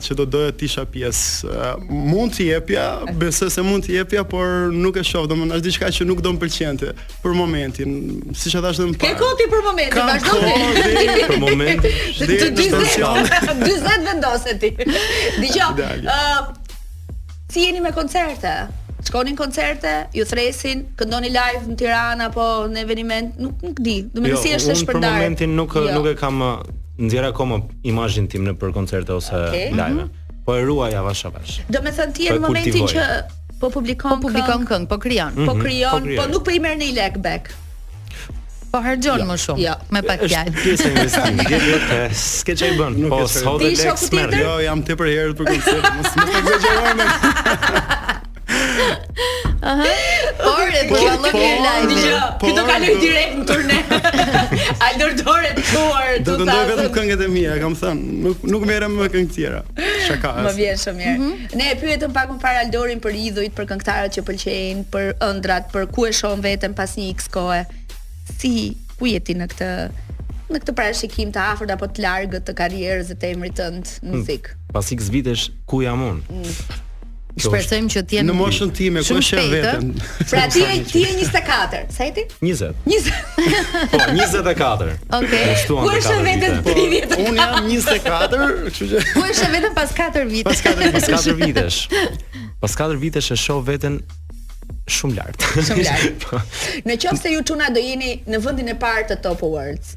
që do doja të isha pjesë. Ëh, Mund t'i jepja, besoj se mund t'i jepja, por nuk e shoh, domethënë është diçka që nuk do më pëlqente për momentin, siç e thash dhe më Ke parë. koti për momentin, Kam vazhdo ti. kohë deri- Për momentin, deri Të në 40 stacion. 40 vendose ti. Dgjoj. Dali. ë si jeni me koncerte? Shkonin koncerte, ju thresin, këndoni live në Tiranë apo në eveniment, nuk nuk di. Do të Jo, thënë si është unë për shpërndarë. momentin nuk Jo. nuk e kam ë, nxjerr akoma imazhin tim në për koncerte ose Okej. live. Po e ruaj avash avash. Do të thënë ti je Po e në momentin kultivoj. që po publikon, Po publikon këngë, po Mm. krijon, po Mhm, po krijon, po krijoj. nuk po i merr në i lek back. po harxhon më Jo. shumë, me pak Është fjalë. pjesë e investimit. Dhe vetë s'ke çaj bën. Nuk Po e shoj. sot Ti shoku lek smer. tjetër? Jo, jam tepër herët për koncert, mos mos të exagjerojmë. Por e Po, dëgjova po, mirë live. Dgjoj, po, ti do kaloj do- direkt në turne. Aldor dore të tuar, Do të ndoj vetëm 2000. këngët e mia, kam thënë, nuk nuk merrem me këngë tjera. Shaka. Më është. vjen shumë mirë. Ne e pyetëm pak më parë Aldorin për idhujt, për këngëtarët që pëlqejnë, për ëndrat, për ku e shohën veten pas një X kohe. Si ku je ti në këtë në këtë parashikim të afërt apo të largët të karrierës dhe të emrit tënd në muzikë? Pas X vitesh ku jam Mm. unë? Kjo është Shpresojmë që të jenë Në moshën time ku Shumë është e shpejt, ë? veten. Pra ti je ti je 24. Sa je ti? 20. 20. Po 24. Okej. Më shtuan Ku të është katër vetëm vite. 30? Unë jam 24, kështu që Po është vetëm pas 4 vite. pas katër Pas 4 vitesh. Pas 4 vitesh e shoh veten shumë lart. Shumë lart. Në qoftë se ju çuna do jeni në vendin e parë të Top Awards.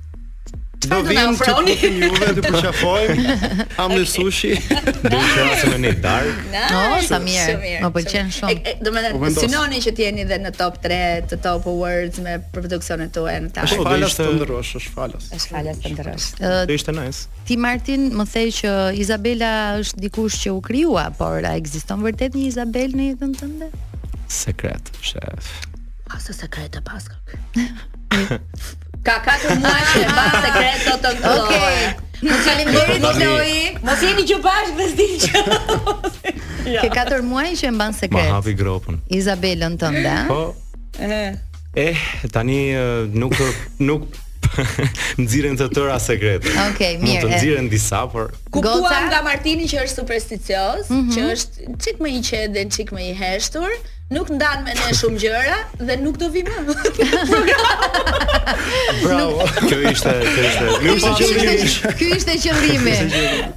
do do na vim të ofroni? kuptim juve të përqafojmë. Am në sushi. Po, Do të qenë në një dark. Oh, Nice. sa mirë. Shumë Më pëlqen shumë. E- e- Do me U thënë, Po vendos. synoni që t'jeni dhe në top 3 të Top Awards me produksionet tuaja në Është tarë. do falas ishte- të ndrosh, është falas. Është falas të ndërrosh. Do ishte nice. Ti Martin më the që Izabela është dikush që u krijua, por a ekziston vërtet një Izabel në jetën tënde? Sekret, shef. A sa sekrete pas ka ky? Ka katër muaj që e ba sekret do të ngullohet. Okej. Më falimderit Po, tani- Loi. Mos jeni që bashkë dhe s'di që. Ke 4 muaj që e mban Ma sekret. hapi gropën. Izabelën tënde, a? Po. Eh, tani eh, nuk nuk nxiren të tëra sekretet. Okej, Mund të mirë, e. nxiren disa, por Kuptuam Goca? Mhm. nga Martini që është supersticios, që është çik më i qetë dhe çik më i heshtur, nuk ndan me ne shumë gjëra dhe nuk do vi më. Bravo. kjo ishte kjo ishte. Mirë ishte po që- që Ishte- Ky ishte qëllimi.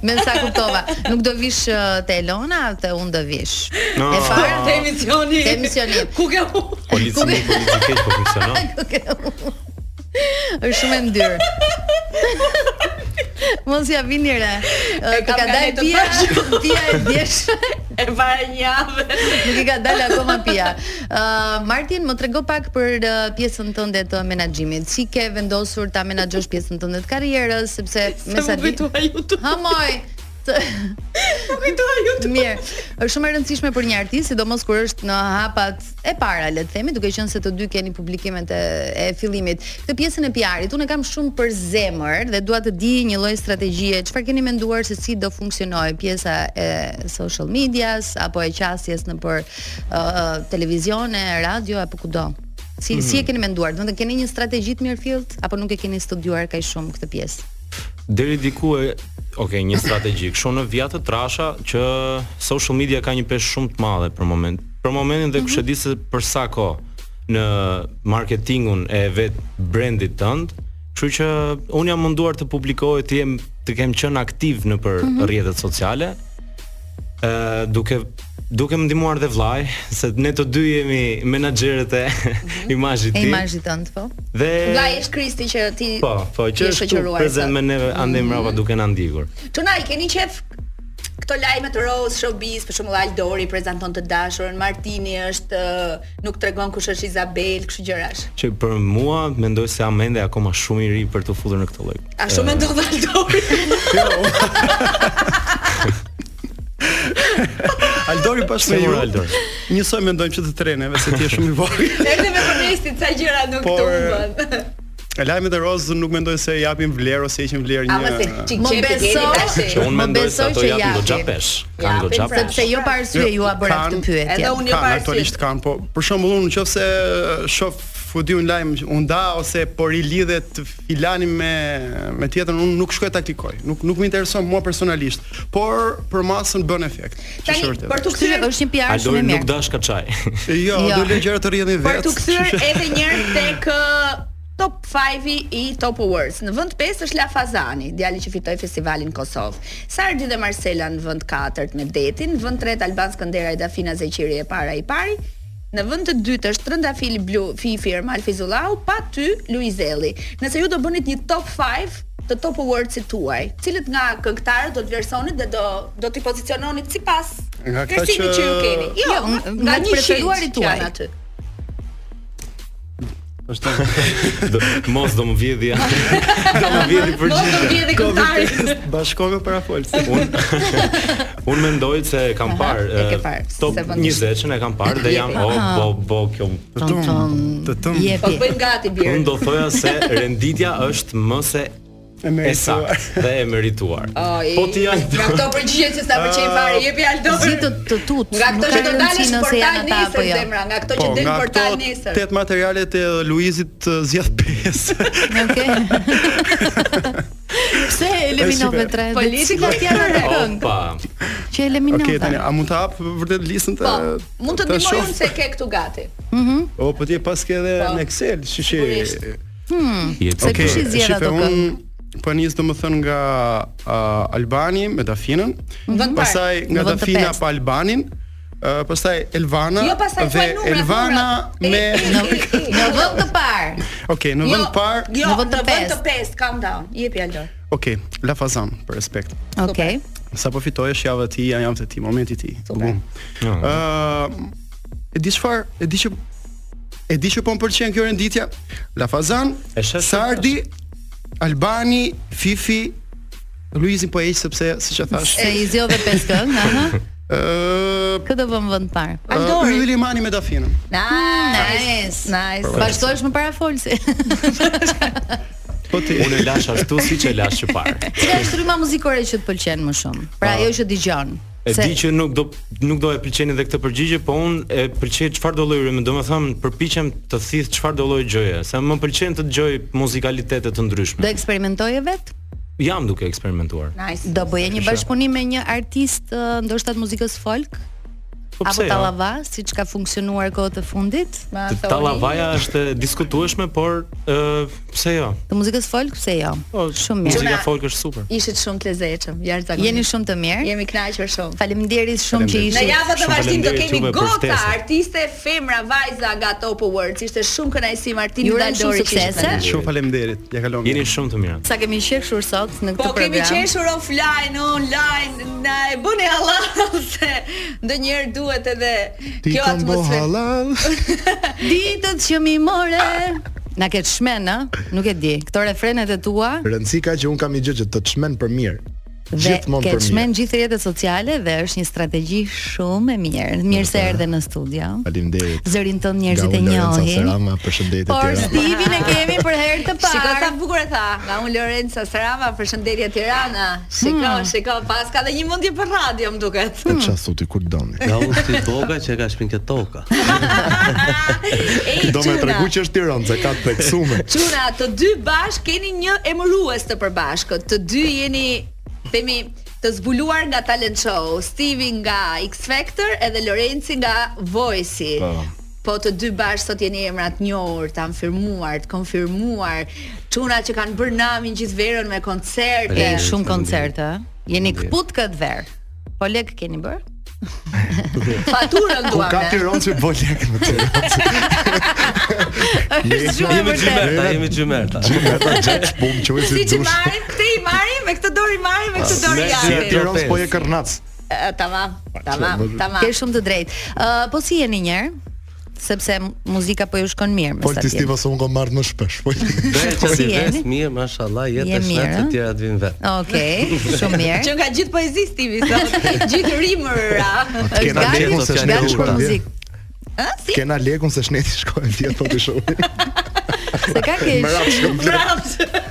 Me sa kuptova. Nuk do vish ë, te Elona, te unë do vish. No. E Për të para. emisioni. Te emisioni. Ku ke u? policia nuk politikë po funksionon. Është shumë e ndyrë. Mos ja vini re. Ë, Ti ka nga dalë letë pia, pia e djesh, E para një javë. nuk i ka dalë akoma pia. Ë Martin, më trego pak për ë, pjesën tënde të menaxhimit. Si ke vendosur ta menaxhosh pjesën tënde të karrierës, sepse me sa di. YouTube. Ha moj. Të- Nuk kujtua YouTube. Mirë, është shumë e rëndësishme për një artist, sidomos kur është në hapat e para, le të themi, duke qenë se të dy keni publikimet e, e fillimit. Këtë pjesën e PR-it unë e kam shumë për zemër dhe dua të di një lloj strategjie, çfarë keni menduar se si do funksionojë pjesa e social medias apo e qasjes në për uh, televizione, radio apo kudo. Si si e keni menduar? Do të thënë keni një strategji të mirëfillt apo nuk e keni studiuar kaq shumë këtë pjesë? deri diku e Ok, një strategji. Kështu në vija të trasha që social media ka një peshë shumë të madhe për moment. Për momentin Mhm. dhe kush e di se për sa kohë në marketingun e vet brandit tënd, kështu që un jam munduar të publikoj, të jem të kem qenë aktiv në për Mhm. rrjetet sociale. Ë duke duke më ndihmuar dhe vllai, se ne të dy jemi menaxherët e imazhit E tim. imazhit tënd, po? Dhe Mhm. Vllai është Kristi që ti Po, po, që ti e është këtu shoqëruar prezent sot. Mhm. me neve ande mbrapa duke na ndjekur. Tuna, i keni qef këto lajme të Rose Showbiz, për shembull Aldori prezanton të dashurën, Martini është ë, nuk tregon kush është Izabel, kështu gjërash. që për mua mendoj se jam ende akoma shumë i ri për të futur në këtë lloj. A shumë mendon Aldori? Aldori pas me Se ju. mora Aldor. Njësoj mendojmë që të treneve se ti je shumë i vogël. Edhe me Forrestin ca gjëra nuk Por- të humbën. E lajmet e rozë nuk mendoj se japin vlerë ose heqin vlerë një. Ama se çik Më çep i keni beso- tash. Që unë Më mendoj se besoj ato që janë japin. goxha pesh, kanë Japin goxha pra. pesh. Sepse jo pa arsye ju a bëra Kanë- këtë pyetje. Edhe unë jo Kanë, parë. aktualisht kanë, po për shembull unë nëse shoh fudi un lajm un da ose por i lidhet filani me me tjetën unë nuk shkoj taktikoj. Nuk nuk më intereson mua personalisht, por për masën bën efekt. që Tani është vërtet. për të Ky kthyer është një PR shumë Aldori e nuk mirë. dash kaçaj. Jo, Jo. do lë gjëra të rrjedhin Për vetë. të kështu kthyer që- edhe një herë tek ë, Top 5 i Top Awards. Në vend 5 është La Fazani, djali që fitoi festivalin në Kosovë. Sardi dhe Marcela në vend 4 me Detin, në vend 3 Alban Skënderaj dhe Dafina Zeqiri e para i pari. Në vend të dytë është Trëndafil Blu, Fifi Ermal Fizullau, pa ty Luizelli. Nëse ju do bënit një top 5 të Top Awards-it tuaj, cilët nga këngëtarët do të vlerësonit dhe do do t'i poziciononit sipas Nga këta vlerësimit që- ju keni. Jo, Jo, nga, nga të 100 preferuarit që janë tuaj. aty. Është Do- Mos do më vjedhja. Do më vjedhi për Mos do gjithë. vjedhë këngëtarit. bashkove para folës. Unë unë mendoj se kam Aha, parë e ke eh, parë, top se vëndi. 20-ën e kam parë dhe jam oh Aha. po po kjo. Ton ton. Të tëm. Po Jepi. bëjmë gati birë. Unë do thoja se renditja është më se E e merituar. saktë dhe e merituar. Ai. Po ti janë Nga këto përgjigje që sa pëlqejnë fare, jepi Aldo. Ah, Si të të tut. Nga këto nuk që ka do rëndësi dalësh nëse portal janë ata apo nesër jo. zemra, nga këto Po, që del nga portal këto nesër. tet materialet e Luizit eh, zgjedh pesë. Okej. Pse e eliminove super. tre? Dhe Politika cilat janë ato këngë Opa. që eliminove? Okej, tani a mund të hap vërtet listën të Po, eh, mund të të ndihmoj shoh? unë se ke këtu gati. O, po ti e pas ke edhe Po. në Excel, shishi. Sigurisht. Jetë. Se kush i zgjedh shife, ato unë këngë? Po nis domethën nga uh, Albani me Dafinën, vend pastaj parë, nga në vend të Dafina pestë. pa Albanin, uh, pastaj Elvana Jo pastaj dhe fal numrat. Elvana numrat. E, me e, e, Okej, e, Në e. vend të parë. Jo, në vend par, Jo, Në në vend vend të të pestë. 5, calm down. Jepi Aldo. Okej, La Fazan për respekt. Okej. Sa po fitohesh java e ti, javën e ti, momenti i ti. Bum. No. Ë, e di çfarë, e di që e di që po më pëlqen kjo renditja. La Fazan, E sheh se- Sardi, Albani, Fifi, Luizin po e hiq sepse siç e thash. Se i zgjodhe pesë këngë, aha. Ë, Kë do vëm vend parë? Aldori. Yli Mani me Dafinën. Nice. Nice. Vazhdojsh më para folsi. Po ti. Unë e lash ashtu siç e lash që parë. Cila është rryma muzikore që të pëlqen më shumë? Pra ajo që dëgjon. E di që nuk do nuk do e pëlqeni edhe këtë përgjigje, po unë e pëlqej çfarë do lloj rytmi, domethënë përpiqem të thith çfarë do lloj gjëje, se më pëlqen të dëgjoj muzikalitete të do ndryshme. eksperimentoje vetë? Jam duke eksperimentuar. Nice. Do bëje një Kisha. bashkëpunim me një artist ë, ndoshta të muzikës folk? Po apo pse jo? Tallava, siç ka funksionuar kohët e fundit? Ma Të thoni. Tallavaja është e diskutueshme, por ë pse jo? Të muzikës folk pse jo? Po, Shumë mirë. Muzika Gjuna- folk është super. Ishit shumë të lezetshëm, jashtëzakonisht. Jeni shumë të mirë. jemi kënaqur shumë. Faleminderit shumë që Faleminderit. Në ishit. javën të Shumë vazhdim do faleminderit kemi juve për gota ftesën. artiste, femra, vajza nga Top Awards. Ishte shumë kënaqësi Martini Ju urojmë shumë Daldori që ishte suksese. me ne. Shumë faleminderit. Ja kalon. Jeni shumë të mirë. Sa kemi qeshur sot në këtë Po program. kemi qeshur offline, online, na e bëni Allah se ndonjëherë duhet edhe Ti kjo kam bo atmosferë. halal Ditët që mi more. Na ke shmen, ë? Nuk e di. Këto refrenet e tua Rëndësi ka që unë kam një gjë që të të shmen për mirë dhe Gjithmonë ke për mirë shmen gjithë rrjetet sociale dhe është një strategji shumë e mirë. Mirë se erdhe në studio. Faleminderit Zërin ton njerëzit e njohin. Serama, përshëndetje Por Tirana. Stivin e kemi për herë të parë. Shiko sa bukur e tha, nga unë Lorenza Sarava, përshëndetje Tirana. Shiko, shiko, pas ka dhe një mundje për radio, më duket. E qa thuti kur doni Nga unë si toka që e ka shpinë këtë toka Ej, Do me Gjuna. tregu që është Tiranë, se ka të theksume Çuna, të dy bashk keni një emërues të përbashkët. Të dy jeni themi të zbuluar nga talent show, Stevi nga X Factor edhe Lorenci nga Voice-i. Po. Po të dy bashkë sot jeni emrat njohur, të firmuar, të konfirmuar, çuna që kanë bërë namin gjithë verën me koncerte. Ke shumë koncerte, ë? Jeni kput këtë verë. Po lek keni bër? Faturën Ku duam. ka ne. Tiranë që bo lek me Tiranë Jemi Jemi gjymerta, jemi gjymerta Gjimeta gjatë shpum që Si si që dush marrim, këtë i marrim, me këtë dorë i marrim, me këtë dorë i Si Ne- e Ja, japim. Tiranë ja, s'po ja. e kërnac Eh, Tamam, tamam, çfarë, tamam. Ke shumë të drejtë. Ë, po si jeni një herë? Sepse muzika po ju shkon mirë me Po sa ti tjetër. stiva se unë kom marrë më shpesh Po Dhe që Si si jeni? vres mirë, mashallah, jetë Je e shnetë mirë, të ëh? tjera të vinë vetë Okej, shumë Që mirë. nga gjithë poezi Stevi sot, gjithë rimëra. Është Kena gati, lekun se është gati për shneti shkojnë vjet muzikë. Ë, si? Kena lekun se shneti shkojnë vjet Po të shohi Se ka keq, Më rapë shkojnë vjet Bravo.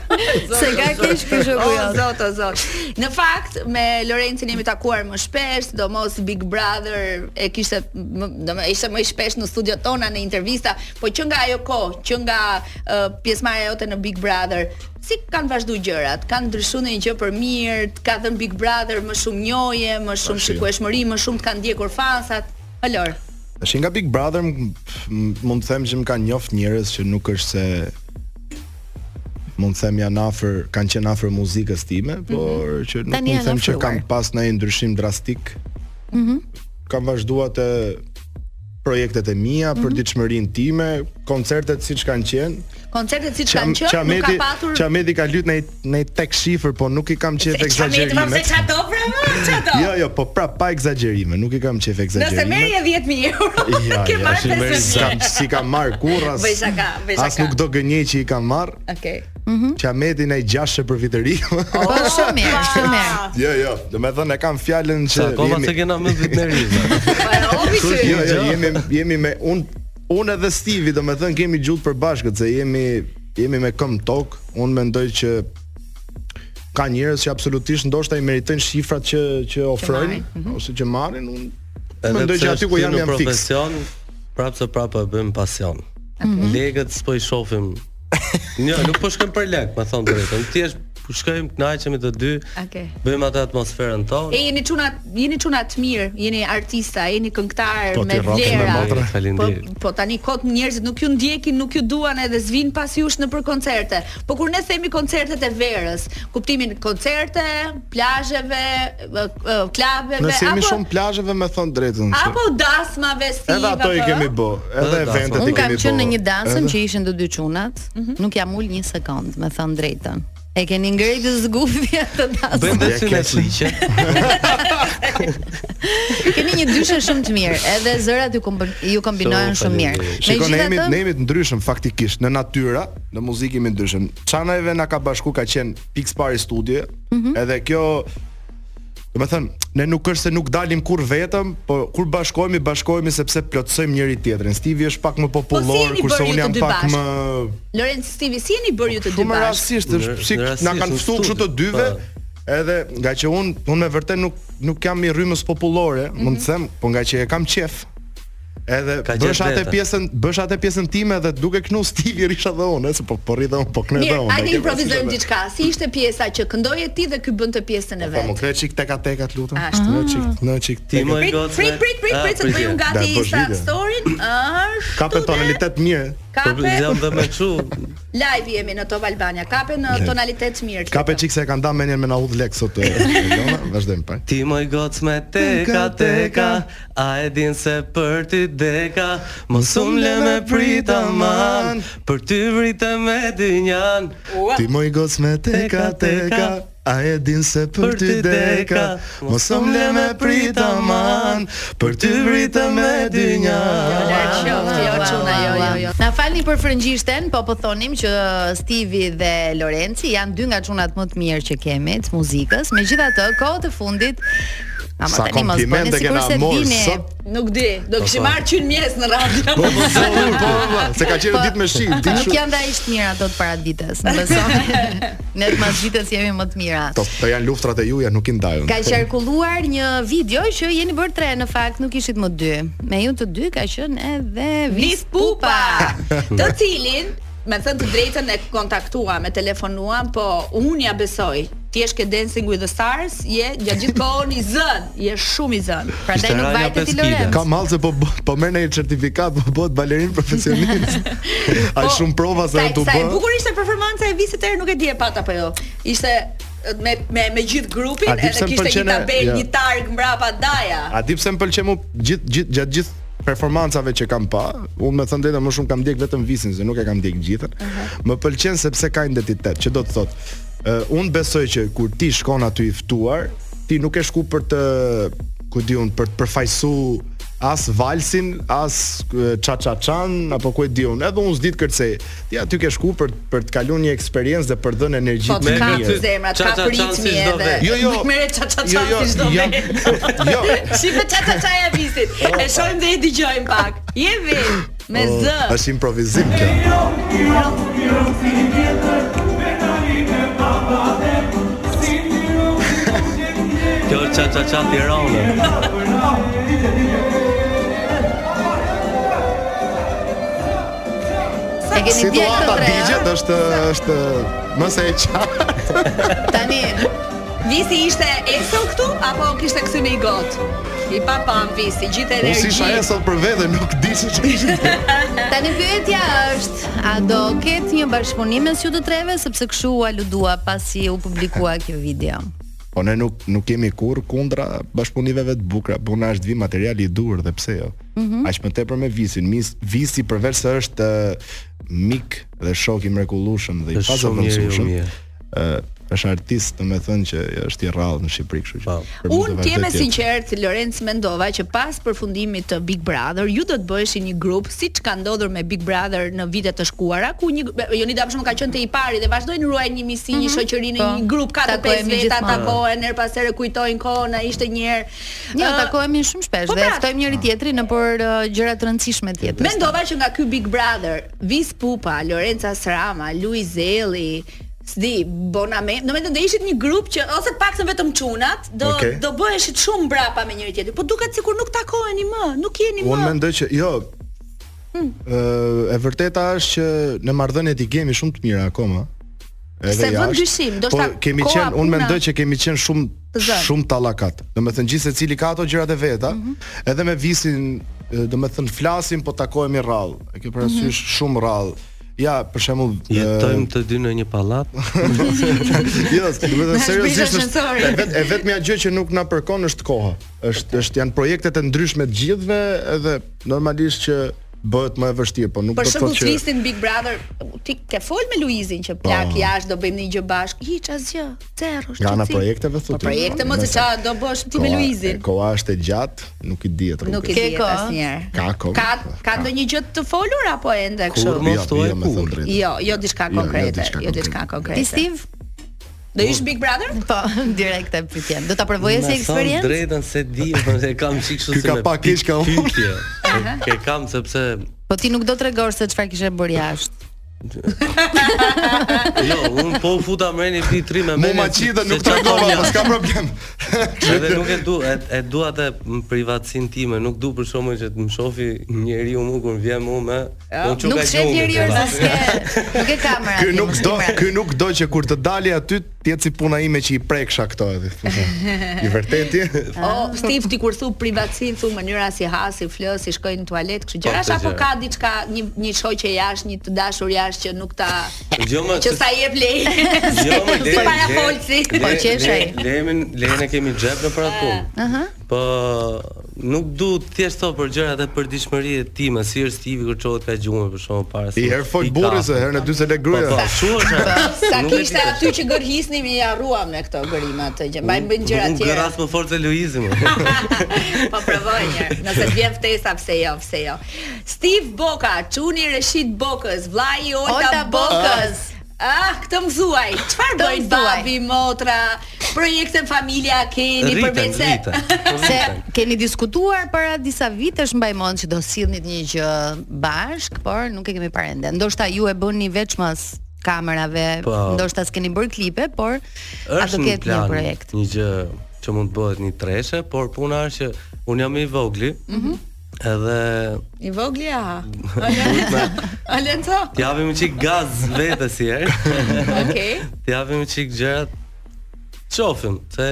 se ka keq ky shoku O jot. zot, o zot. Në fakt me Lorencin jemi takuar më shpesh, sidomos Big Brother e kishte më, do më ishte më i shpesh në studiot tona në intervista, po që nga ajo kohë, që nga uh, pjesëmarrja jote në Big Brother, si kanë vazhdu gjërat? Kanë ndryshuar ndonjë gjë për mirë? Të ka dhënë Big Brother më shumë njohje, më shumë Tashi. shikueshmëri, më shumë të kanë ndjekur fansat? Alor. Tash nga Big Brother m- m- mund të them që më kanë njoft njerëz që nuk është se mund të them janë afër, kanë qenë afër muzikës time, Mhm. por që Tani nuk mund të janë them që afruar. kam pas ndonjë ndryshim drastik. Mhm. Kam vazhduar të projektet e mia Mhm. për ditëshmërinë time, koncertet siç kanë qenë. Koncertet siç kanë Qam- qenë, nuk ka Qameti, patur Qameti ka lyt në një- në një tek shifër, po nuk i kam qef egzagjerimet. çato pra më, çato. Jo, jo, po prap pa egzagjerime, nuk i kam qef Nëse egzagjerimet. merrje 10000 euro, Ja, ke ja, marrë si merr- 5000. s'kam- si kam marr kurras. Bëj shaka, bëj shaka. Mhm. As nuk do gënjej që i kam marr. Okej. Qametin ai 6 për vitëri. Po shumë mirë, shumë mirë. jo, jo, do me thënë e kam fjalën që Sa koma se kena më vitë në rizë Obi Kështu Jo, që- jo, jemi jemi me un unë edhe Stivi, do me thënë kemi gjullë për bashkët se jemi jemi me këmbë tok. Unë mendoj që ka njerëz që absolutisht ndoshta i meritojnë shifrat që që ofrojnë mhm. ose që marrin. Unë mendoj që aty ku jam jam fiks. profesion, prapë se prapë e bëjmë pasion Mhm. Mhm. Legët s'po i shofim Një, nuk po shkojmë për lek, më thonë drejtën Thjesht po shkojmë, kënaqemi të dy Okej. Bëjmë atë atmosferën tonë E jeni çuna, jeni çuna të mirë, jeni artista, jeni këngëtar Po, ti me rock, me vlera. motra. Po, Faleminderit. po tani kot njerëzit nuk ju ndjekin, nuk ju duan edhe zvin pas jush në për koncerte. Po kur ne themi koncertet e verës, kuptimin koncerte, plazheve, ë, ë, klubeve Nëse jemi apo shumë plazheve me thon drejtën. se- apo dasmave po, si Edhe ato i kemi bë, edhe Edhe eventet i kemi bë. Unë kam qenë në një dansëm që ishin të dy çunat, nuk jam ul një sekond, me thënë drejtën. E keni ngrejtë zgufje të dasëm. Bëjmë dhe Ja, sy në keq. liqe Keni një dyshe shumë të mirë, edhe zërat ju, kombi- ju kombinohen Shumë shumë mirë. faleminderit. Shikon ne jemi ne Megjithatë, jemi të ndryshëm faktikisht në natyrë, në muzikë jemi të ndryshëm. Çanave na ka bashku ka qenë Pix Pari Studio, Mhm. edhe kjo Do me thënë, ne nuk është se nuk dalim kur vetëm, po kur bashkohemi, bashkohemi sepse plotësojmë njëri tjetrin. Stivi është pak më popullor, Po jeni bërë kurse ju unë të jam dy pak bashkë? më Lorenz Stivi, si jeni bërë ju të dy shumë bashkë? rastisht, është Në- si në na rastisht, kanë në ftuar kështu të studio, dyve, po. edhe nga që unë unë me vërtet nuk nuk jam i rrymës popullore, mund të them, po nga që e kam qef. Edhe Ka bësh gjetë atë veten. pjesën, bësh atë pjesën time dhe duke knu Stevie risha dhe unë, se po po rri dhe unë, po kne dhe Mirë, unë. hajde e ke improvizojmë parasysh edhe. diçka. Si ishte pjesa që këndoje ti dhe ky bënte pjesën e Po më vet. kre çik teka teka të lutem. Ashtu. Në çik, në çik Ti teka. më Prit, gocë. prit, prit, prit, Ah, prit, se të bëjmë pritje. Da, gati bësh Insta video. storin. Është. Ka personalitet mirë. Po Kape. jam dhe me çu. Live jemi në Top Albania. Kape në tonalitet të mirë. Ka pe çik se e kanë dhënë menjen me na udh lek sot. e, Elona, vazhdojmë pak. Ti më gocë me teka teka, a e din se për ti deka, mos u le me prit aman, për ty vritë me dynjan. Ti më i goc me teka teka, a e din se për ty deka, mos u le me prit aman, për ty vritë me dynjan. Larg qoftë, jo çuna, jo, jo, jo. Na falni për frëngjishten, po po thonim që Stivi dhe Lorenci janë dy nga çunat më të mirë që kemi të muzikës. Megjithatë, kohët e fundit Ama Sa tani mos bëni komplimente sikur kena se morë dini. sot. Nuk di, do kishim marrë qyn mjes në radio. Po po po, po po, se ka qenë ditë me shi, ditë Nuk shumë. janë dha ishtë mira ato të paradites Në beson Ne të ditës jemi më të mira To, to janë luftrat e juja, nuk i ndajun. Ka qarkulluar një video që jeni bërë tre në fakt, nuk ishit më dy. Me ju të dy ka qenë edhe Vis Nis Pupa, të cilin me thënë të drejtën e kontaktuam, e telefonuam, po unë ja besoj. Ti je ke Dancing with the Stars, je gjatë gjithë kohën i zën, je shumë i zën. Prandaj Ishte nuk Rania vajte ti Peskide. Lorenz. Ka mallë se po bë- po merr në një certifikat, po bëhet balerin profesionist. Po, Ai shumë prova se sa- do të Sa e bë. bukur ishte performanca e Visit Air, nuk e di e pat apo jo. Ishte me me me gjithë grupin, A di pse edhe më kishte një pëlqen e- tabel, ja. një targ mbrapa daja. A di pse më pëlqen mu gjithë gjithë gjatë gjithë performancave që kam pa, unë me thënë drejtën më shumë kam ndjek vetëm visin, se nuk e kam ndjek gjithën. Më pëlqen sepse ka identitet, që do të thotë, uh, unë besoj që kur ti shkon aty i ftuar, ti nuk e shku për të, ku diun, për të përfaqësu as valsin, as çaçaçan apo ku e diun. Edhe unë s'dit kërcej. Ti aty ke shku për për të kaluar një eksperiencë dhe për të dhënë Po energjitë të më ka mirë. zemrat, ka Qa, qa, qa, si pritmi çdo edhe. vet. Jo, jo. Nuk merret ça ça Jo, ça jo, si çdo jam- vet. Jo. Shifë ça ça ça e visit. E shohim dhe e dëgjojmë pak. Je vin me Oh, z. Është improvizim kjo. Kjo qa qa qa Tiranë. E keni djeg të Situata digjet tre. është është më se e qartë. ë? Tani Visi ishte eso këtu apo kishte kësym i got? I pa pam visi, gjithë Unë si isha e energji. sot për vete nuk di se ç'është. ishte. tani pyetja është, a do ketë një bashkëpunim mes ju të treve sepse kshu aludua pasi u publikua kjo video. Po ne nuk nuk kemi kurr kundra bashkëpunimeve të bukura, po na është vi materiali i dur dhe pse jo. Aq më tepër me visin. Mis, visi përveç se është ë, mik dhe shok i mrekullueshëm dhe i Është shumë njeri i pazavendësueshëm. mirë. ë është artist, domethënë që është i rrallë në Shqipëri, kështu që. Po. për mua Unë do t'jeme vazhdoj tjetë. sinqert, Lorenz mendova që pas përfundimit të Big Brother, ju do të bëheshi një grup siç ka ndodhur me Big Brother në vitet të shkuara, ku një Jonida për shembull ka qenë te i pari dhe vazhdojnë ruajnë një misi, një shoqëri në po. një grup 4-5 Takohemi veta gjithmonë. takohen her pas here kujtojnë kohën, a ishte një herë. Jo, Ë, takohemi shumë shpesh po dhe pra. ftojmë njëri tjetrin nëpër uh, gjëra të rëndësishme të jetës. Mendova që nga ky Big Brother, Vis Pupa, Lorenza Srama, Luiz Elli, S'di, Boname, do me të do ishit një grup që ose paktën vetëm çunat, do Okej. do bëheshit shumë brapa me njëri tjetrin, po duket sikur nuk takoheni më, nuk jeni më. Unë mendoj që jo. Hmm. Ë e vërteta është që në marrëdhëniet i kemi shumë të mira akoma. Se vën jashtë. dyshim, do po, shta kemi koha, qenë, unë puna. mendoj që kemi qenë Të shumë zënë. Mhm. shumë tallakat. Domethënë gjithë secili ka ato gjërat e veta, edhe me visin, e, domethënë flasim po takohemi rrallë. E ke parasysh Mhm. shumë rrallë. Ja, për shembull, e, Jetojmë të dy në një pallat. Po, jo, do të Na thënë seriozisht shpejtë është ascensori. e vet e vetmja gjë që nuk na përkon është koha. Është është janë projekte të ndryshme të gjithëve edhe normalisht që bëhet më e vështirë, po nuk do Për të shembull thotë që Po. Twistin Big Brother, ti ke fol me Luizin që plak jashtë do bëjmë një gjë bashkë. Hiç asgjë. Zero. nga ana shqetësim. projekteve Po thotë. projekte më se çfarë do bësh ti me Luizin. Koha është e gjatë, nuk i dihet rrugës. Nuk e Ke di kohë? asnjëherë. Ka kohë. Ka ka ndonjë gjë të folur apo ende kështu? Kur mos thuaj jo, me kur. thënë drejtë. Jo, jo diçka Jo, jo konkrete, diçka jo diçka konkrete. Ti Steve? Do ish Big Brother? Po, direkt e pyetjen. Do ta provoje si Me thënë eksperiencë? Drejtën se di, po e kam çik kështu Ky ka pak keq ka unë. pyetje. E- Ke kam sepse Po ti nuk do tregosh se çfarë kishe bërë jashtë. Jo, unë po u futa mreni ti tri me Mu mene. ma qita se nuk çfarë tregova, kam jashtë. po s'ka problem. Edhe nuk e du, e, e du atë në privatësin time, nuk du për shkakun që të më shofi njeriu mu kur vjen mu me. Ja, Nuk shet njeriu pra. se s'ke, nuk e kamera. Ky ti, nuk mos do, kamera. ky nuk do që kur të dali aty të jetë si puna ime që i preksha këto edhe. I vërtetë. O, Steve, ti kur thu privatësin, thu mënyra si ha, si flë, si shkoj në tualet, kështu gjëra, këtë apo Po, gjë. ka diçka, një një shoqe jashtë, një të dashur jashtë që nuk ta Jo më që sa jep lej. Jo më Si para folsi. Po qesh ai. Lemin, lemin e kemi xhep në për atë punë. Aha. Po nuk du thjesht thot për gjërat e përditshmëritë time, si është Steve kur çohet ka gjumë për shkakun para. se- I herë fol ka. burri se herën e dytë se le Po po, gruaja. ashtu është. Po, Sa Nuk e di kishte tash. aty që gërhisnim i harruam ne këto gërima të gjë. Mbajmë bëjnë gjëra Unë tjera. gëras më fort se Luizi më. po provoj një herë, nëse të vjen ftesa pse jo, pse jo. Steve Boka, çuni Reshit Bokës, vllai i Olta Olta Bokës. Bokës. Ah, këtë më thuaj, qëfar Këtë bëjnë më thuaj. babi, motra, projekte familja keni, Rriten, përveç se... rriten. Se Rriten. keni diskutuar para disa vitesh mbaj mend që do sillnit një gjë bashk, por nuk e kemi parë ende. Ndoshta ju e bëni veç mas kamerave, Po. ndoshta s'keni bërë klipe, por a do është në ketë një plan projekt. një gjë që mund të bëhet një treshe, por puna është që unë jam i vogli. Mhm. Edhe I vogli, aha. duhet me Alenco, t'javim çik gaz vetes si herë. okej. T'javim çik gjërat. Qofim se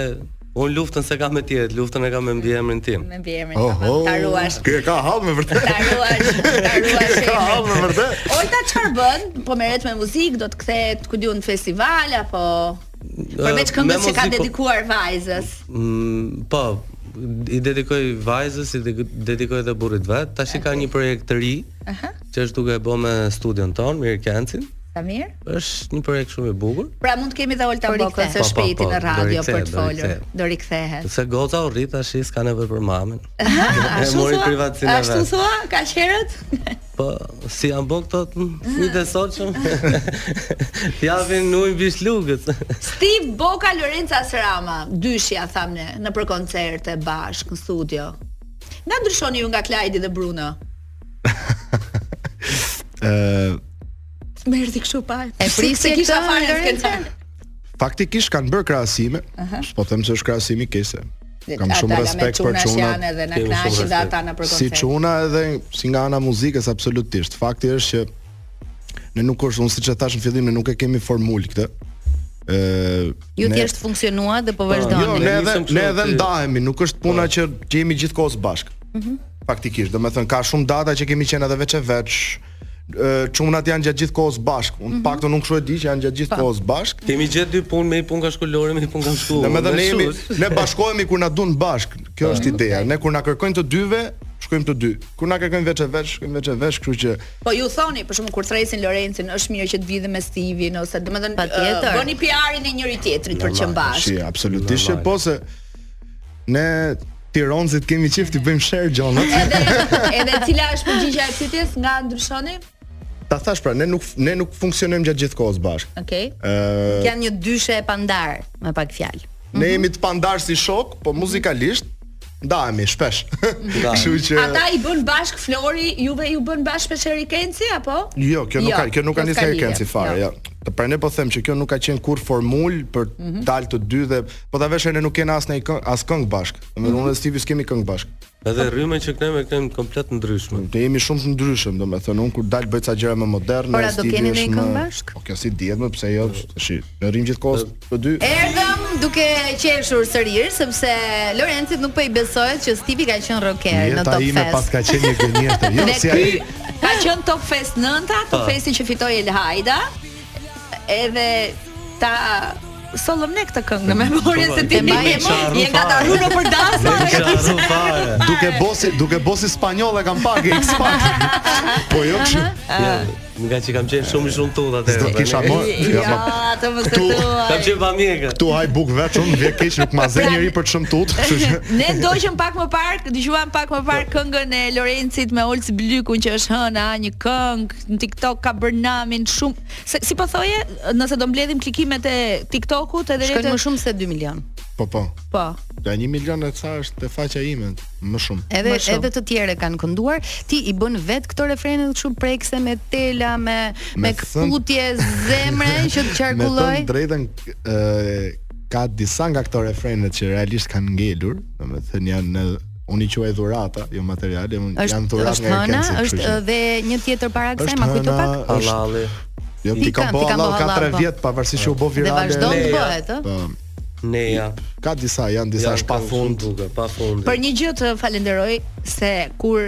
unë luftën se kam me tjerët, luftën e kam me mbiemrin tim. Me bjemrin, Oho. ta ruash. Ky e ka hall me vërtet. Ta ruash, ta ruash. Ka emrin. hall me vërtet. Olta çfarë bën? Po merret me muzikë, do të kthehet ku diun në festival apo përveç këngës që me ka muzikë, po- dedikuar vajzës. Mm, po, i dedikoj vajzës, i dek- dedikoj edhe burrit vet. Tash i ka një projekt të ri, që është duke e bërë me studion ton, Mirë Kencin. Samir? Është një projekt shumë i bukur. Pra mund të kemi dhe Olta Po Bokën rikthehet. së Po, po, shpejti po, në do radio rikthehet, për të do folur. rikthehet. Do rikthehet. Se goca u rrit tash i s'ka nevojë për mamën. e Ashtu mori thua? privatësinë e Ashtu vet. thua? Ka herët? Po, si janë bën këto mm, fëmijët e sotshëm? T'javin ujë mbi shlugët. Steve Boka Lorenza Srama, dyshja thamë ne, në për koncerte bashkë në studio. Nga ndryshoni ju nga Klajdi dhe Bruno? Ë, Më erdhi kështu pa. E prisje Se kisha këtë, fare Lorenza? skëndar. faktikisht kanë bërë krahasime. Po them se është krahasim i keq se. Kam Ata shumë me respekt për çunash çunat. janë edhe na Kemi shumë knaqin dhe respekt. ata në për si koncert. çuna edhe si nga ana muzikës absolutisht. Fakti është që ne nuk është unë siç e thash në fillim ne nuk e kemi formulë këtë. Ë Ju ne- thjesht funksionua dhe po Jo, vazhdoni. ne Ne edhe nisëm kështu ne edhe aty. ndahemi, nuk është puna që që jemi gjithkohës bashkë. Faktikisht, domethënë ka shumë data që kemi qenë edhe veç e veç. Ë, Çunat janë gjatë gjithë kohës bashkë. Unë paktën nuk kështu e di që janë gjatë gjithë kohës bashkë. Kemi gjetë dy punë, me i punë ka shku Lori, me i punë kam shku. Dhe me unë, dhe ne jemi, kështu është. ne bashkohemi kur na duan bashk. Kjo është ideja. Ne kur na kërkojnë të dyve, shkojmë të dy. Kur na kërkojnë veç e veç, shkojmë veç e veç, kështu që Po ju thoni, për shkakun kur thresin Lorencin, është mirë që të vidhë me Stivin ose domethënë Patjetër. ë, bëni PR-in e njëri tjetrit për që mbash. shi absolutisht që Normal. po se ne Tironzit kemi qift i bëjmë share gjonat. Edhe edhe cila është përgjigjja e pyetjes nga ndryshoni? Ta thash pra, ne nuk ne nuk funksionojmë gjatë gjithë kohës bashkë. Okej. Ë, Janë një dyshe e pandar, me pak fjalë. ne jemi të pandar si shok, po muzikalisht ndahemi shpesh. Kështu që Ata i bën bashk Flori, juve ju bën bashk me Sheri Kenci apo? Jo, kjo nuk Jo, ka, kjo nuk ka kjo nisë s'ka nga lidhje, Kenci fare, jo. jo. Të pra ne po them që kjo nuk ka qenë kur formul për Mhm. dalë të dy dhe po ta veshë ne nuk kena as në këngë, as këngë bashkë. Mhm. Domethënë unë dhe Stevie s'kemi këngë bashkë. Edhe rrymën që këne me këne komplet ndryshme. Ne jemi shumë të ndryshëm, domethënë unë kur dal bëj ca gjëra më moderne, Por a do Stevie keni është ndonjë këngë më- bashkë? Po kjo si dihet më pse jo, tash ne rrim gjithkohës të po dy. Erdhëm duke qeshur sërish sepse Lorencit nuk po i besohet që Stipi ka qenë rocker në Jeta Top ime pas Fest. ka qenë një gënjeshtër. Jo, Dhe si ky ai ka qenë Top Fest 9-ta, Top Po. Festi që fitoi El Hajda. Edhe ta sollëm ne këtë këngë në memorie se ti E mbaj je e mbaj. je gataru në për dansa. Ne kisha rru fare. duke bosi, duke bosi spanjoll e kam pak e X pak. Po jo, kështu. Ja, nga që kam qenë shumë i shumë tut atë. S'do kisha ne- më. Jo, Ja, ma- të mos e Këtu- Kam thuaj. qenë pa mjekë. Tu haj buk veç, unë vje keq nuk ma zë njëri për të shëmtut, kështu që Ne ndoqëm pak më parë, dëgjuam pak më parë këngën e Lorencit me Olc Blykun që është hëna, një këngë në TikTok ka bërë namin shumë. Se, si po thoje, nëse do mbledhim klikimet e TikTokut edhe Shkojnë rrjetet- më shumë se 2 milion. Po po. Po. Ja 1 milion e ca është te faqja ime, më shumë. Edhe Më shumë. edhe të tjerë e kanë kënduar, ti i bën vet këto refrene kështu prekse me tela, me me, Me thënë- këputje zemre që të Me qarkulloj. të drejtën ë ka disa nga këto refrenet që realisht kanë ngelur, domethënë janë unë i quaj dhurata, jo materiale, unë janë Është dhurata është nga hëna, Erkensi, është kështu që- dhe një tjetër para kësaj, Është ma kujto hëna, pak. është- Halali. Jo, ti ka Ti po ka Allah bo ka halal, 3 po. vjet pavarësisht që u bë Dhe virale. vazhdon të leja. bëhet, ë? Po, Neja. ka disa, janë disa Janë është pa këngë fund. shumë bukur, pa fund. Për një gjë të falenderoj se kur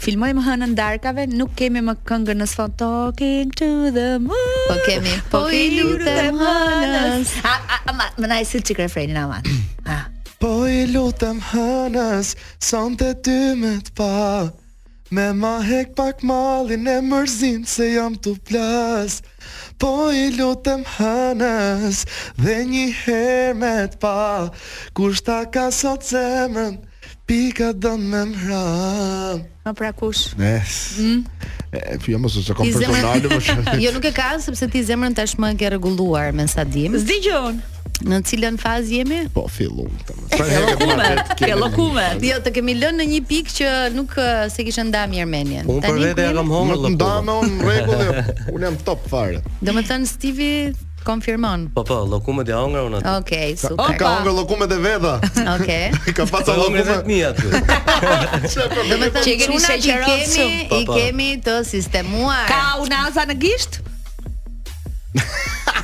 filmojmë hënën darkave, nuk kemi më këngën në sfond Talking to the moon. Po kemi, po i lutem hënës. A a, a ma- më na i sill çik refrenin aman. Ah. Po i lutem hënës, son të ty me të pa Me ma hek pak malin e mërzin se jam të plas Po i lutem hënës dhe një herë me të pa Kushta ka sot zemrën, pika dënë me mram Më pra kush? Nes E, pjo mos ose kom Ti zemrën personale Po më shumë Jo nuk e ka sepse ti zemrën tashmë e ke rregulluar me sa dim. Zdigjon. Në cilën fazë jemi? Po fillum të më Sa herë këtë market Ke llokume. Jo, të kemi lënë në një pikë që nuk ë, se kishte nda Armenien. Unë për vete ja kam Më të hongër lëkume. ndame unë regullë, unë jam top fare Domethënë Stivi konfirmon. Po po, lëkumet ja hongër unë aty. Okej, Ka, super. ka hongër llokumet e veta. Okej. Ka Sa paca hongër vetë llokume. mi aty. Do të Që thënë e keni çunat i sheqeron kemi, Po, i po. kemi të sistemuar. Ka unaza në gisht?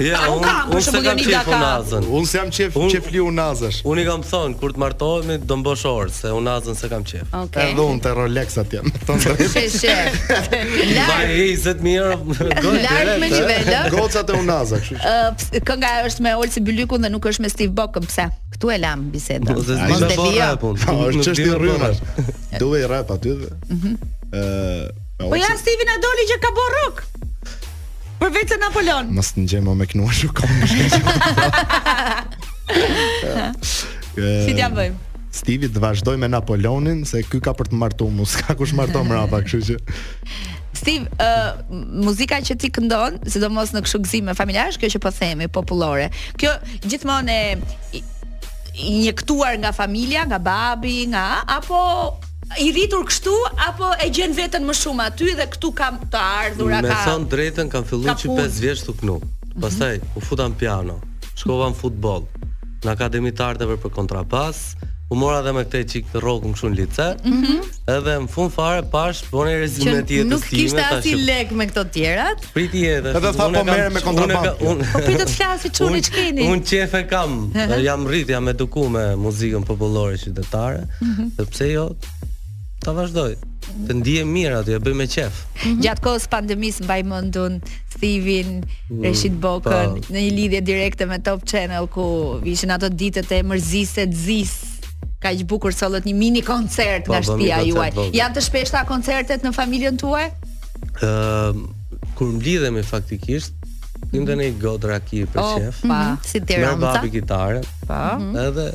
Ja, unë unë kam, për unë se shembull, kam Jonida qef ka. unazën. Unë s'jam qef Unë- qef liu nazash. Unë i kam thonë kur të martohemi do mbosh orë se unazën se kam qef. Okej. Edhe unë te Rolex atje. me thënë drejtë. Sheshe. Mbaj Lart, 20000 euro. gojë lart me direkt, eh. e. nivela. Gocat e unaza, kështu që. Ë, ps- kënga është me Olsi Bylykun dhe nuk është me Steve Bokën, pse? Këtu e lam bisedën. Ose Mos s'di me bërë devijo. rapun. Po, është Nuk di çështje me bërë rrymash. rap. Duhet rap aty. dhe- Ë, Mhm. Po ja Steve na doli që ka bërë rock. Për vetë Napolon. Mos të ngjema me knuar nuk kam. Si t'ja bëjmë? Stivi të vazhdoj me Napoleonin se ky ka për të martuar mu, s'ka kush marton mrapa, kështu që Steve, uh, muzika që ti këndon, sidomos në kështu gëzime familjare, është kjo që po themi, popullore. Kjo gjithmonë e i- injektuar nga familja, nga babi, nga apo i rritur kështu apo e gjen veten më shumë aty dhe këtu kam të ardhur Me ka. thon drejtën kam ka filluar që punë. 5 vjeç të knu. Pastaj u futa në piano. Shkova në futboll. Në Akademi të Arteve për kontrabas, u mora edhe me këtë çik të rrokun këtu në lice. Edhe në fund fare pash po boni Që rezimet jetës time. nuk kishte thash, as i lek me këto tjerat. Priti jetës. Edhe tha, po unë e kam- merrem me unë e kontraband. jo. ka- unë- Po pritet flasi çuni Unë- ç'keni. Unë qef e kam. Jam rrit, jam eduku me muzikën popullore qytetare. Mhm. Dhe pse jo? Ta vazhdoj. Të ndihem mirë aty, e bëj me qef. Gjatë kohës pandemisë mbaj mendun Stivin, Mm, Reshit Bokën po. në një lidhje direkte me Top Channel ku ishin ato ditët e mërzisë të zis. Kaq bukur sollet një mini koncert Po, nga po, shtëpia mini juaj. koncert vogël. Janë të shpeshta koncertet në familjen tuaj? Ëm, kur mblidhemi faktikisht, kim të një god raki për O, qef. pa. Si Merr Mhm. Tiranca. Mhm. babi kitare, Po. edhe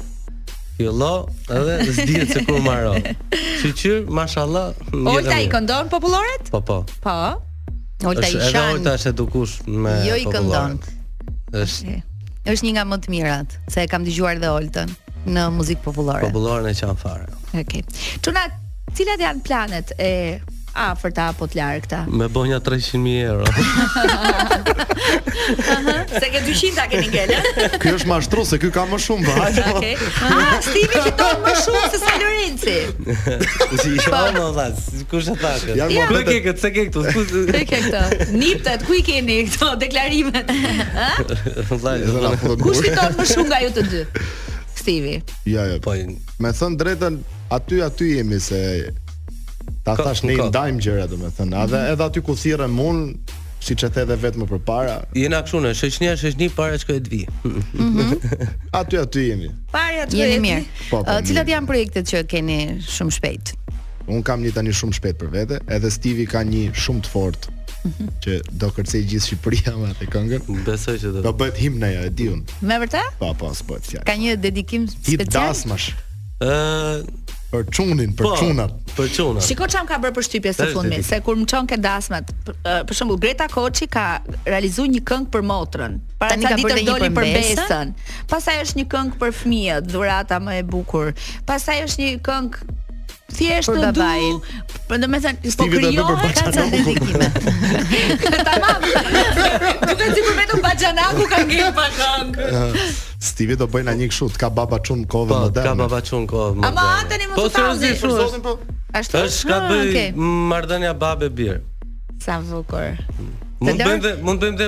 fillo, edhe s'dihet se ku maro. Shqyr, mashallah, Olta i mirë. këndon populloret? Po po. Po. Olta Është- edhe Ishan. Olta është edukush me Jo i këndon. popullore. Është Është një nga më të mirat, se e kam dëgjuar dhe Oltën në muzikë popullore. populloren e qan fare. Okej. Çuna, cilat janë planet e afërta apo të largëta? Me bonja 300.000 euro. Se ke 200 ta keni ngelë. ky është mashtru se ky ka më shumë, po, hajde. po. Okej. Ah, Stivi fiton më shumë se sa Lorenci. Si jo më vllaz, kush e tha këtë? Janë Ku e mohabete- ke këtë, se ke këtu? Ku e ke këtë? Niptet, ku i keni këto deklarimet? Ë? Edhe na Vllaz. fut Kush burë. fiton më shumë nga ju të dy? Stivi. Jo, jo. Po Me thënë drejtën, aty aty jemi se ta Ka- thash ne i ka. Mhm. ndajmë gjëra domethënë. Edhe edhe aty ku thirrem unë, siç e the edhe vetë më përpara, jena kështu në shoqënia, shoqëni para çka e të vi. aty aty jemi. Parja të Jeni ecni. mirë. Po, po, Ë, Cilat mirë. janë projektet që keni shumë shpejt? Un kam një tani shumë shpejt për vete, edhe Stivi ka një shumë të fortë Mhm. që do kërcej gjithë Shqipëria me atë këngën. Besoj që do. Do bëhet himna ja, e di unë. Me vërtet? Po, po, s'po të fjalë. Ka një dedikim Hip special? dasmash Ë, po, për çunin, për çunat. Po, Për çunat. Shiko çam ka bërë përshtypje së Është fundmi, dedikim. se kur më çon ke dasmat, për, ë, për shembull Greta Koçi ka realizuar një këngë për motrën. Para Tani ca ka bërë ditësh dhe një doli për për Besën. Besën. pastaj është një këngë për fëmijët, dhurata më e bukur. Pastaj është një këngë thjesht Për të du, babain. për do me thënë, po Stevie do e bëj për kryohet Ka ca dedikime. Tamam. Duket sikur vetëm Baxhanaku ka ngel pa këngë. Stevie do bëjnë një kështu, ka baba çun Po, kohë ka moderne. babaçun kohë. Ama Antoni moderne. mos Po u thazi, seriozisht, për u është. Zotin po. Ashtu Është ka Ah, bëj okay. marrëdhënia babë bir. sa bukur. Mund lartë? bëjmë dhe mund bëjmë dhe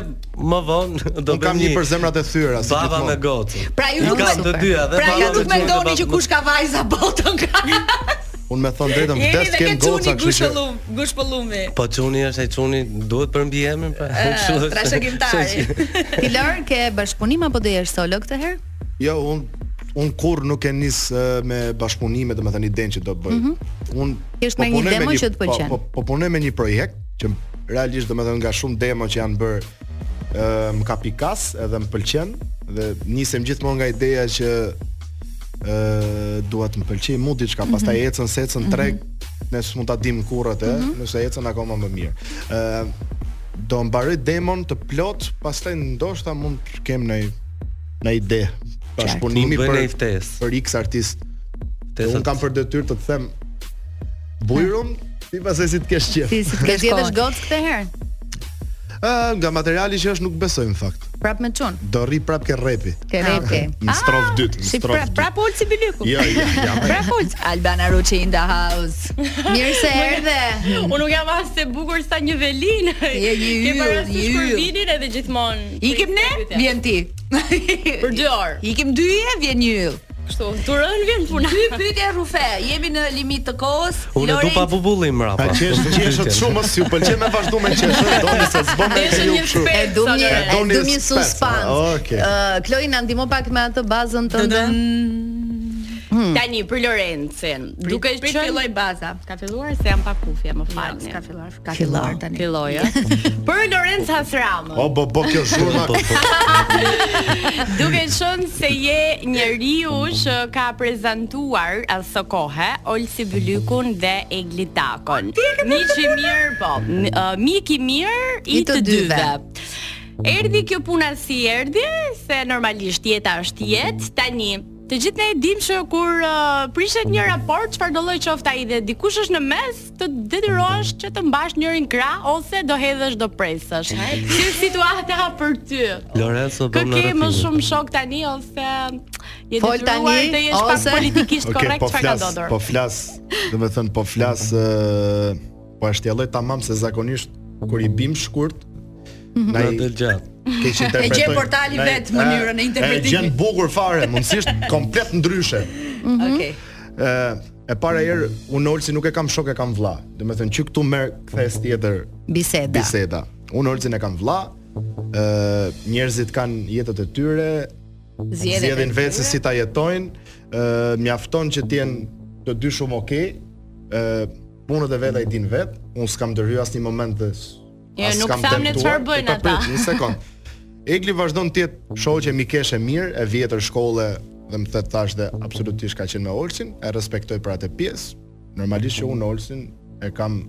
më vonë do Un kam një për zemrat e thyra, si baba me gjithmonë. gocë. Pra ju I nuk kam me- të dyja dhe Pra ju baba nuk me gocë mendoni dhe që baba- kush ka vajza botën ka. Unë me thon drejtën, Jeni vdes dhe ke kem çuni goca, kështu që gushëllum, gushpëllumi. Po çuni është ai çuni duhet për mbiemrin pra. Kështu është. trashëgimtari. Pilar, ke bashkëpunim apo do jesh solo këtë herë? jo, un un kur nuk e nis e, me bashkëpunime, domethënë idenë që do bëj. Un Mhm. Thjesht po me një punoj demo një- që të pëlqen. Po, po, po punoj me një projekt që realisht domethënë nga shumë demo që janë bërë e, më ka pikas edhe më pëlqen dhe nisem gjithmonë nga ideja që ë dua të më pëlqej mu diçka, Mhm. pastaj ecën se ecën treg, ne s'mund ta dim kurrët e, Mhm. nëse ecën akoma më mirë. ë do mbaroj demon të plot, pastaj ndoshta mund të kem në në ide bashkëpunimi Mund bëj për një ftesë. për X artist. Ftesat- Unë kam për detyrë të të them bujrum, ti pastaj si të kesh qef. Ti si të Kesh zgjedhësh kohë. gocë këtë herë? Ë, Ah, nga materiali që është nuk besoj në fakt. Prap me çun. Do rri prap ke repi. Ke Ah, repi. Në strofë dytë, në Si pra strofë dytë. pra polci biliku. Jo, jo, jo. Pra polci Albana Ruçi in the house. Mirë se erdhe. Unë nuk jam as e bukur sa një velin. Je një Ke yll, parasysh një kur yll. vinin edhe gjithmonë. Ikim ne, vjen ti. për 2 orë. Ikim dyje, vjen një yll. Kështu, turën vjen puna. Dy pyetje rrufe, jemi në limit të kohës. Unë e du pa bubullim mrapa. Pa qesh, Pra, qeshët shumë s'ju pëlqen me vazhdu me qeshët, doni se s'bën me Ishte ju një E kështu. shpejt. dum një, Sonore. e Doni dum një spec. oh, suspans. Okej. Ë, Kloi na ndihmo pak me atë bazën tënde. Hmm. Tani për Lorencin. Duke Prit qenë- filloj baza. Ka filluar se jam pa kufje, më Ja, falni. s'ka filluar, ka Fillar. filluar tani. Filloj, ë. Për Lorenz Hasram. O, bo, bo, kjo zhurma, Duke qënë se je njeriu që ka prezentuar aso kohë Olsi Bylykun dhe Egli Takon. Mik i mirë, po. n- ë, Mik i mirë i të dyve. Erdi kjo puna si erdi, se normalisht jeta është jetë, tani Të gjithë ne e dim që kur uh, prishet një raport, çfarë do lloj qoftë ai dhe dikush është në mes, të detyrohesh që të mbash njërin krah ose do hedhësh do presësh. Si situata për ty? Lorenzo Kë bëm në ke më rrëfime. shumë shok tani ose je Fol detyruar tani, të jesh pak ose- politikisht Okej, korrekt po çfarë ka flas, ndodhur? po flas, do me thënë, po flas, Mhm. ë, po është jalloj tamam se zakonisht, kur i bim shkurt, Mhm. na Na i del gjatë. keq interpretojnë. gjen portali na i- vetë mënyrën e interpretimit. E gjen bukur fare, mundësisht komplet ndryshe. Okej. Ë, e para herë unë Olsi nuk e kam shok, e kam vlla. Do me thënë që këtu merr kthes tjetër Biseda. biseda. Unë Olcin e kam vlla, ë njerëzit kanë jetët e tyre, Zgjedhin zgjedhin vetë se si ta jetojnë, ë mjafton që të jenë të dy shumë okay, ë punët e veta i din vet, unë s'kam ndërhy asnjë moment dhe s- Jo, as nuk kam tham ne tentuar. çfarë bëjnë E, po, prit, ata. Një sekond. Egli vazhdon të jetë shoqe mikesh e mirë, e vjetër shkolle dhe më thet tash dhe absolutisht ka qenë me Olsin, e respektoj për atë pjesë. Normalisht që unë Olsin e kam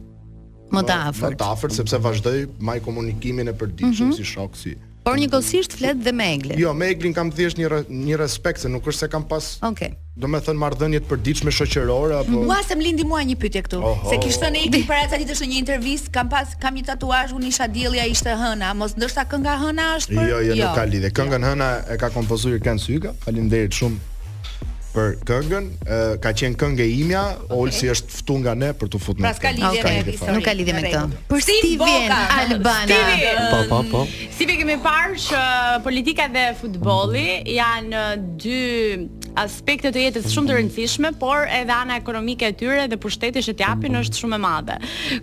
Më të oh, Më afërt. të afërt sepse vazhdoi maj komunikimin e përditshëm si shok si. Por njëkohësisht flet dhe me Eglin. Jo, me Eglin kam thjesht një re- një respekt se nuk është se kam pas, Okej. domethënë marrëdhënie të përditshme shoqërore apo Ua se mlindi mua një pyetje këtu. Oho. Se kishte në ikë para ca ditësh në një intervistë, kam pas kam një tatuazh, unë isha dielli, ai ishte hëna, mos ndoshta kënga hëna është për Jo, jo, nuk ka lidhje. Këngën Hëna e ka kompozuar Ken Syka. Faleminderit shumë për këngën. E, ka qenë këngë e imja, Olsi është ftuar nga ne për t'u futur. Pra në s'ka këngë. lidhje S'ka me lidhje fare. Nuk ka lidhje me këtë. Për Steve Steven Boka. Albana. Steve! Po, po, po. Si pe kemi parë që politika dhe futbolli janë uh, dy aspekte të jetës shumë të rëndësishme, por edhe ana ekonomike e tyre dhe pushteti që t'japin është shumë e madhe.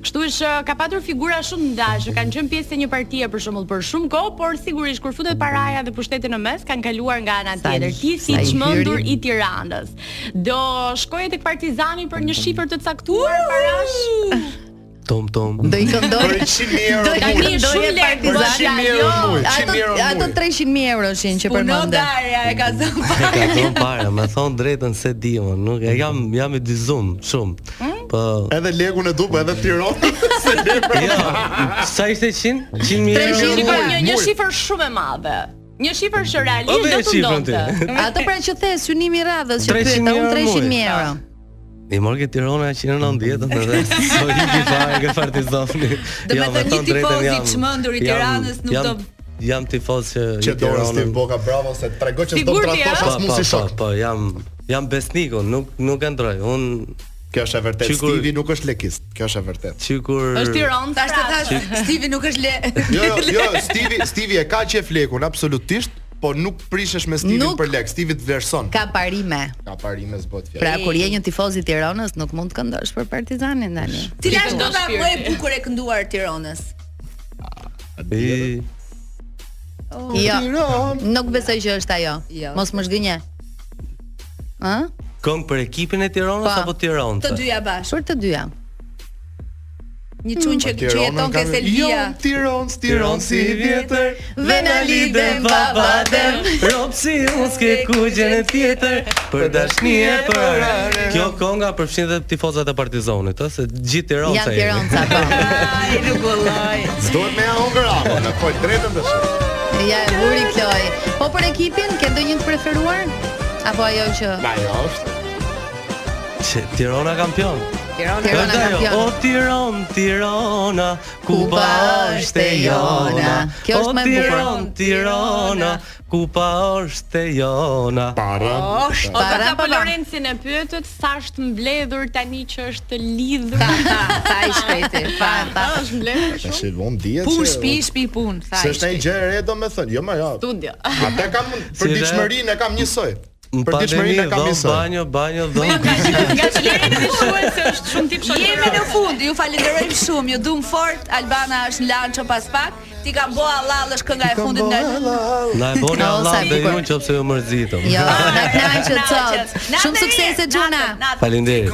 Kështu që ka patur figura shumë të ndajshme, kanë qenë pjesë e një partie për shembull për shumë kohë, por sigurisht kur futet paraja dhe pushteti në mes kanë kaluar nga ana Sa i- tjetër. Ti si sa i çmendur hyri. i Tiranës, do shkoje tek Partizani për një shifër të caktuar parash? Tom tom. Do i këndoj. Për 100.000 euro. Do i Tani këndoj është shumë e lehtë, Partizani. bërë 100.000 Jo, në euro muj, 100.000 Ato euro në ato muj. 300.000 euro ishin që përmende. Darja e ka zënë E pa. ka thon para, më thon drejtën se di unë, nuk e jam jam i dizum shumë. Hmm? Po Edhe Legun e dupa, edhe Tiranë. se lepra. jo, sa ishte 100? 100 mijë euro. 300 Shikoj Mua, një një mul. shifër shumë e madhe. Një shifër që O, realisht dhe e do të shifrën ndonte. Ato pra që the synimi i radhës që 300.000 pyeta unë euro 300.000 muaj. euro. I morë ke Tirana 190 edhe so i ki fare ke partizani. Do me Ja, thënë, një thonë drejtën, tifoz i jam- çmendur i jam- Tiranës nuk jam- do- Jam tifoz që Që i dorës ti Tiranën- boka bravo se trego që s'do të Sigurt je, tratosh a? Po, as mund si po, shok. po, po, jam jam besnik, unë, nuk nuk e ndroj. Un Kjo është e vërtet. Qikur- Stevie nuk është lekist. Kjo është e vërtet. sikur Është pra. Tiranë Tash të prapë. thash, Stivi nuk është le. Jo, jo, jo, Stevie, Stevie e ka që e flekun absolutisht, po nuk prishesh me Stevie Nuk- për lek. Stevie të vlerëson. Ka, Ka parime. parime zbot fjalë. Pra kur je një tifoz i Tiranës nuk mund të këndosh për Partizanin tani. Cila është Do dota shpirt. më e bukur e kënduar e Tiranës? i Jo, Tiran. nuk besoj që është ajo. Jo. Mos më zgjënje. Ë? këngë për ekipin e Tiranës Po. apo Të Tiranën? dyja bashkë. Për të dyja. Një çun që që jeton ke Jo, Selvia. Tiran, Tiran si vjetër. Ve na lidhen babadem. Rob si unë s'ke kugjen e tjetër Për dashni e për arë Kjo konga përfshin dhe tifozat e partizonit ë, Se gjithë Tiranës Janë e jemi. Tiranca po. Ai Jo, nuk vulloj. Duhet me hungër apo në fol drejtën tash. Ja e vuri Kloj. Po për ekipin ke ndonjë të preferuar? Apo ajo që Na jo është. Që Tirana kampion Tirana Kënda jo, O kampion? Tiran, Tirana Kupa është e jona Kjo është O më e bukur. Tiran, Tirana Kupa është e jona Para. O ta Para, ta po para. Lorencin e pyetët sa është mbledhur tani që është lidhur. Ta, ta i shpejti. Pa, ta. Ta është mbledhur Tash shumë von dihet Pun se- shpi, shpi pun, tha. Se i është një shpejti. gjë e re domethënë. Jo, më jo. studio. Ata kam për Si ditëshmërinë e kam njësoj. Në Për pandemi ditëshmërinë e kam dhom, njësoj. banjo, banjo dhom Nga që lireni të shuhet se është shumë tip Jemi shoqëror. në fund, ju falenderojmë shumë, ju dum fort. Albana është në lanço pas pak. Ti kam bo halal është kënga e fundit nga Na e boni O, sa Allah e dhe bukur. ju nëse ju mërzitëm Jo, na knaqet sot. Natën Shumë mirë, suksese natën, Gjuna. natën. Faleminderit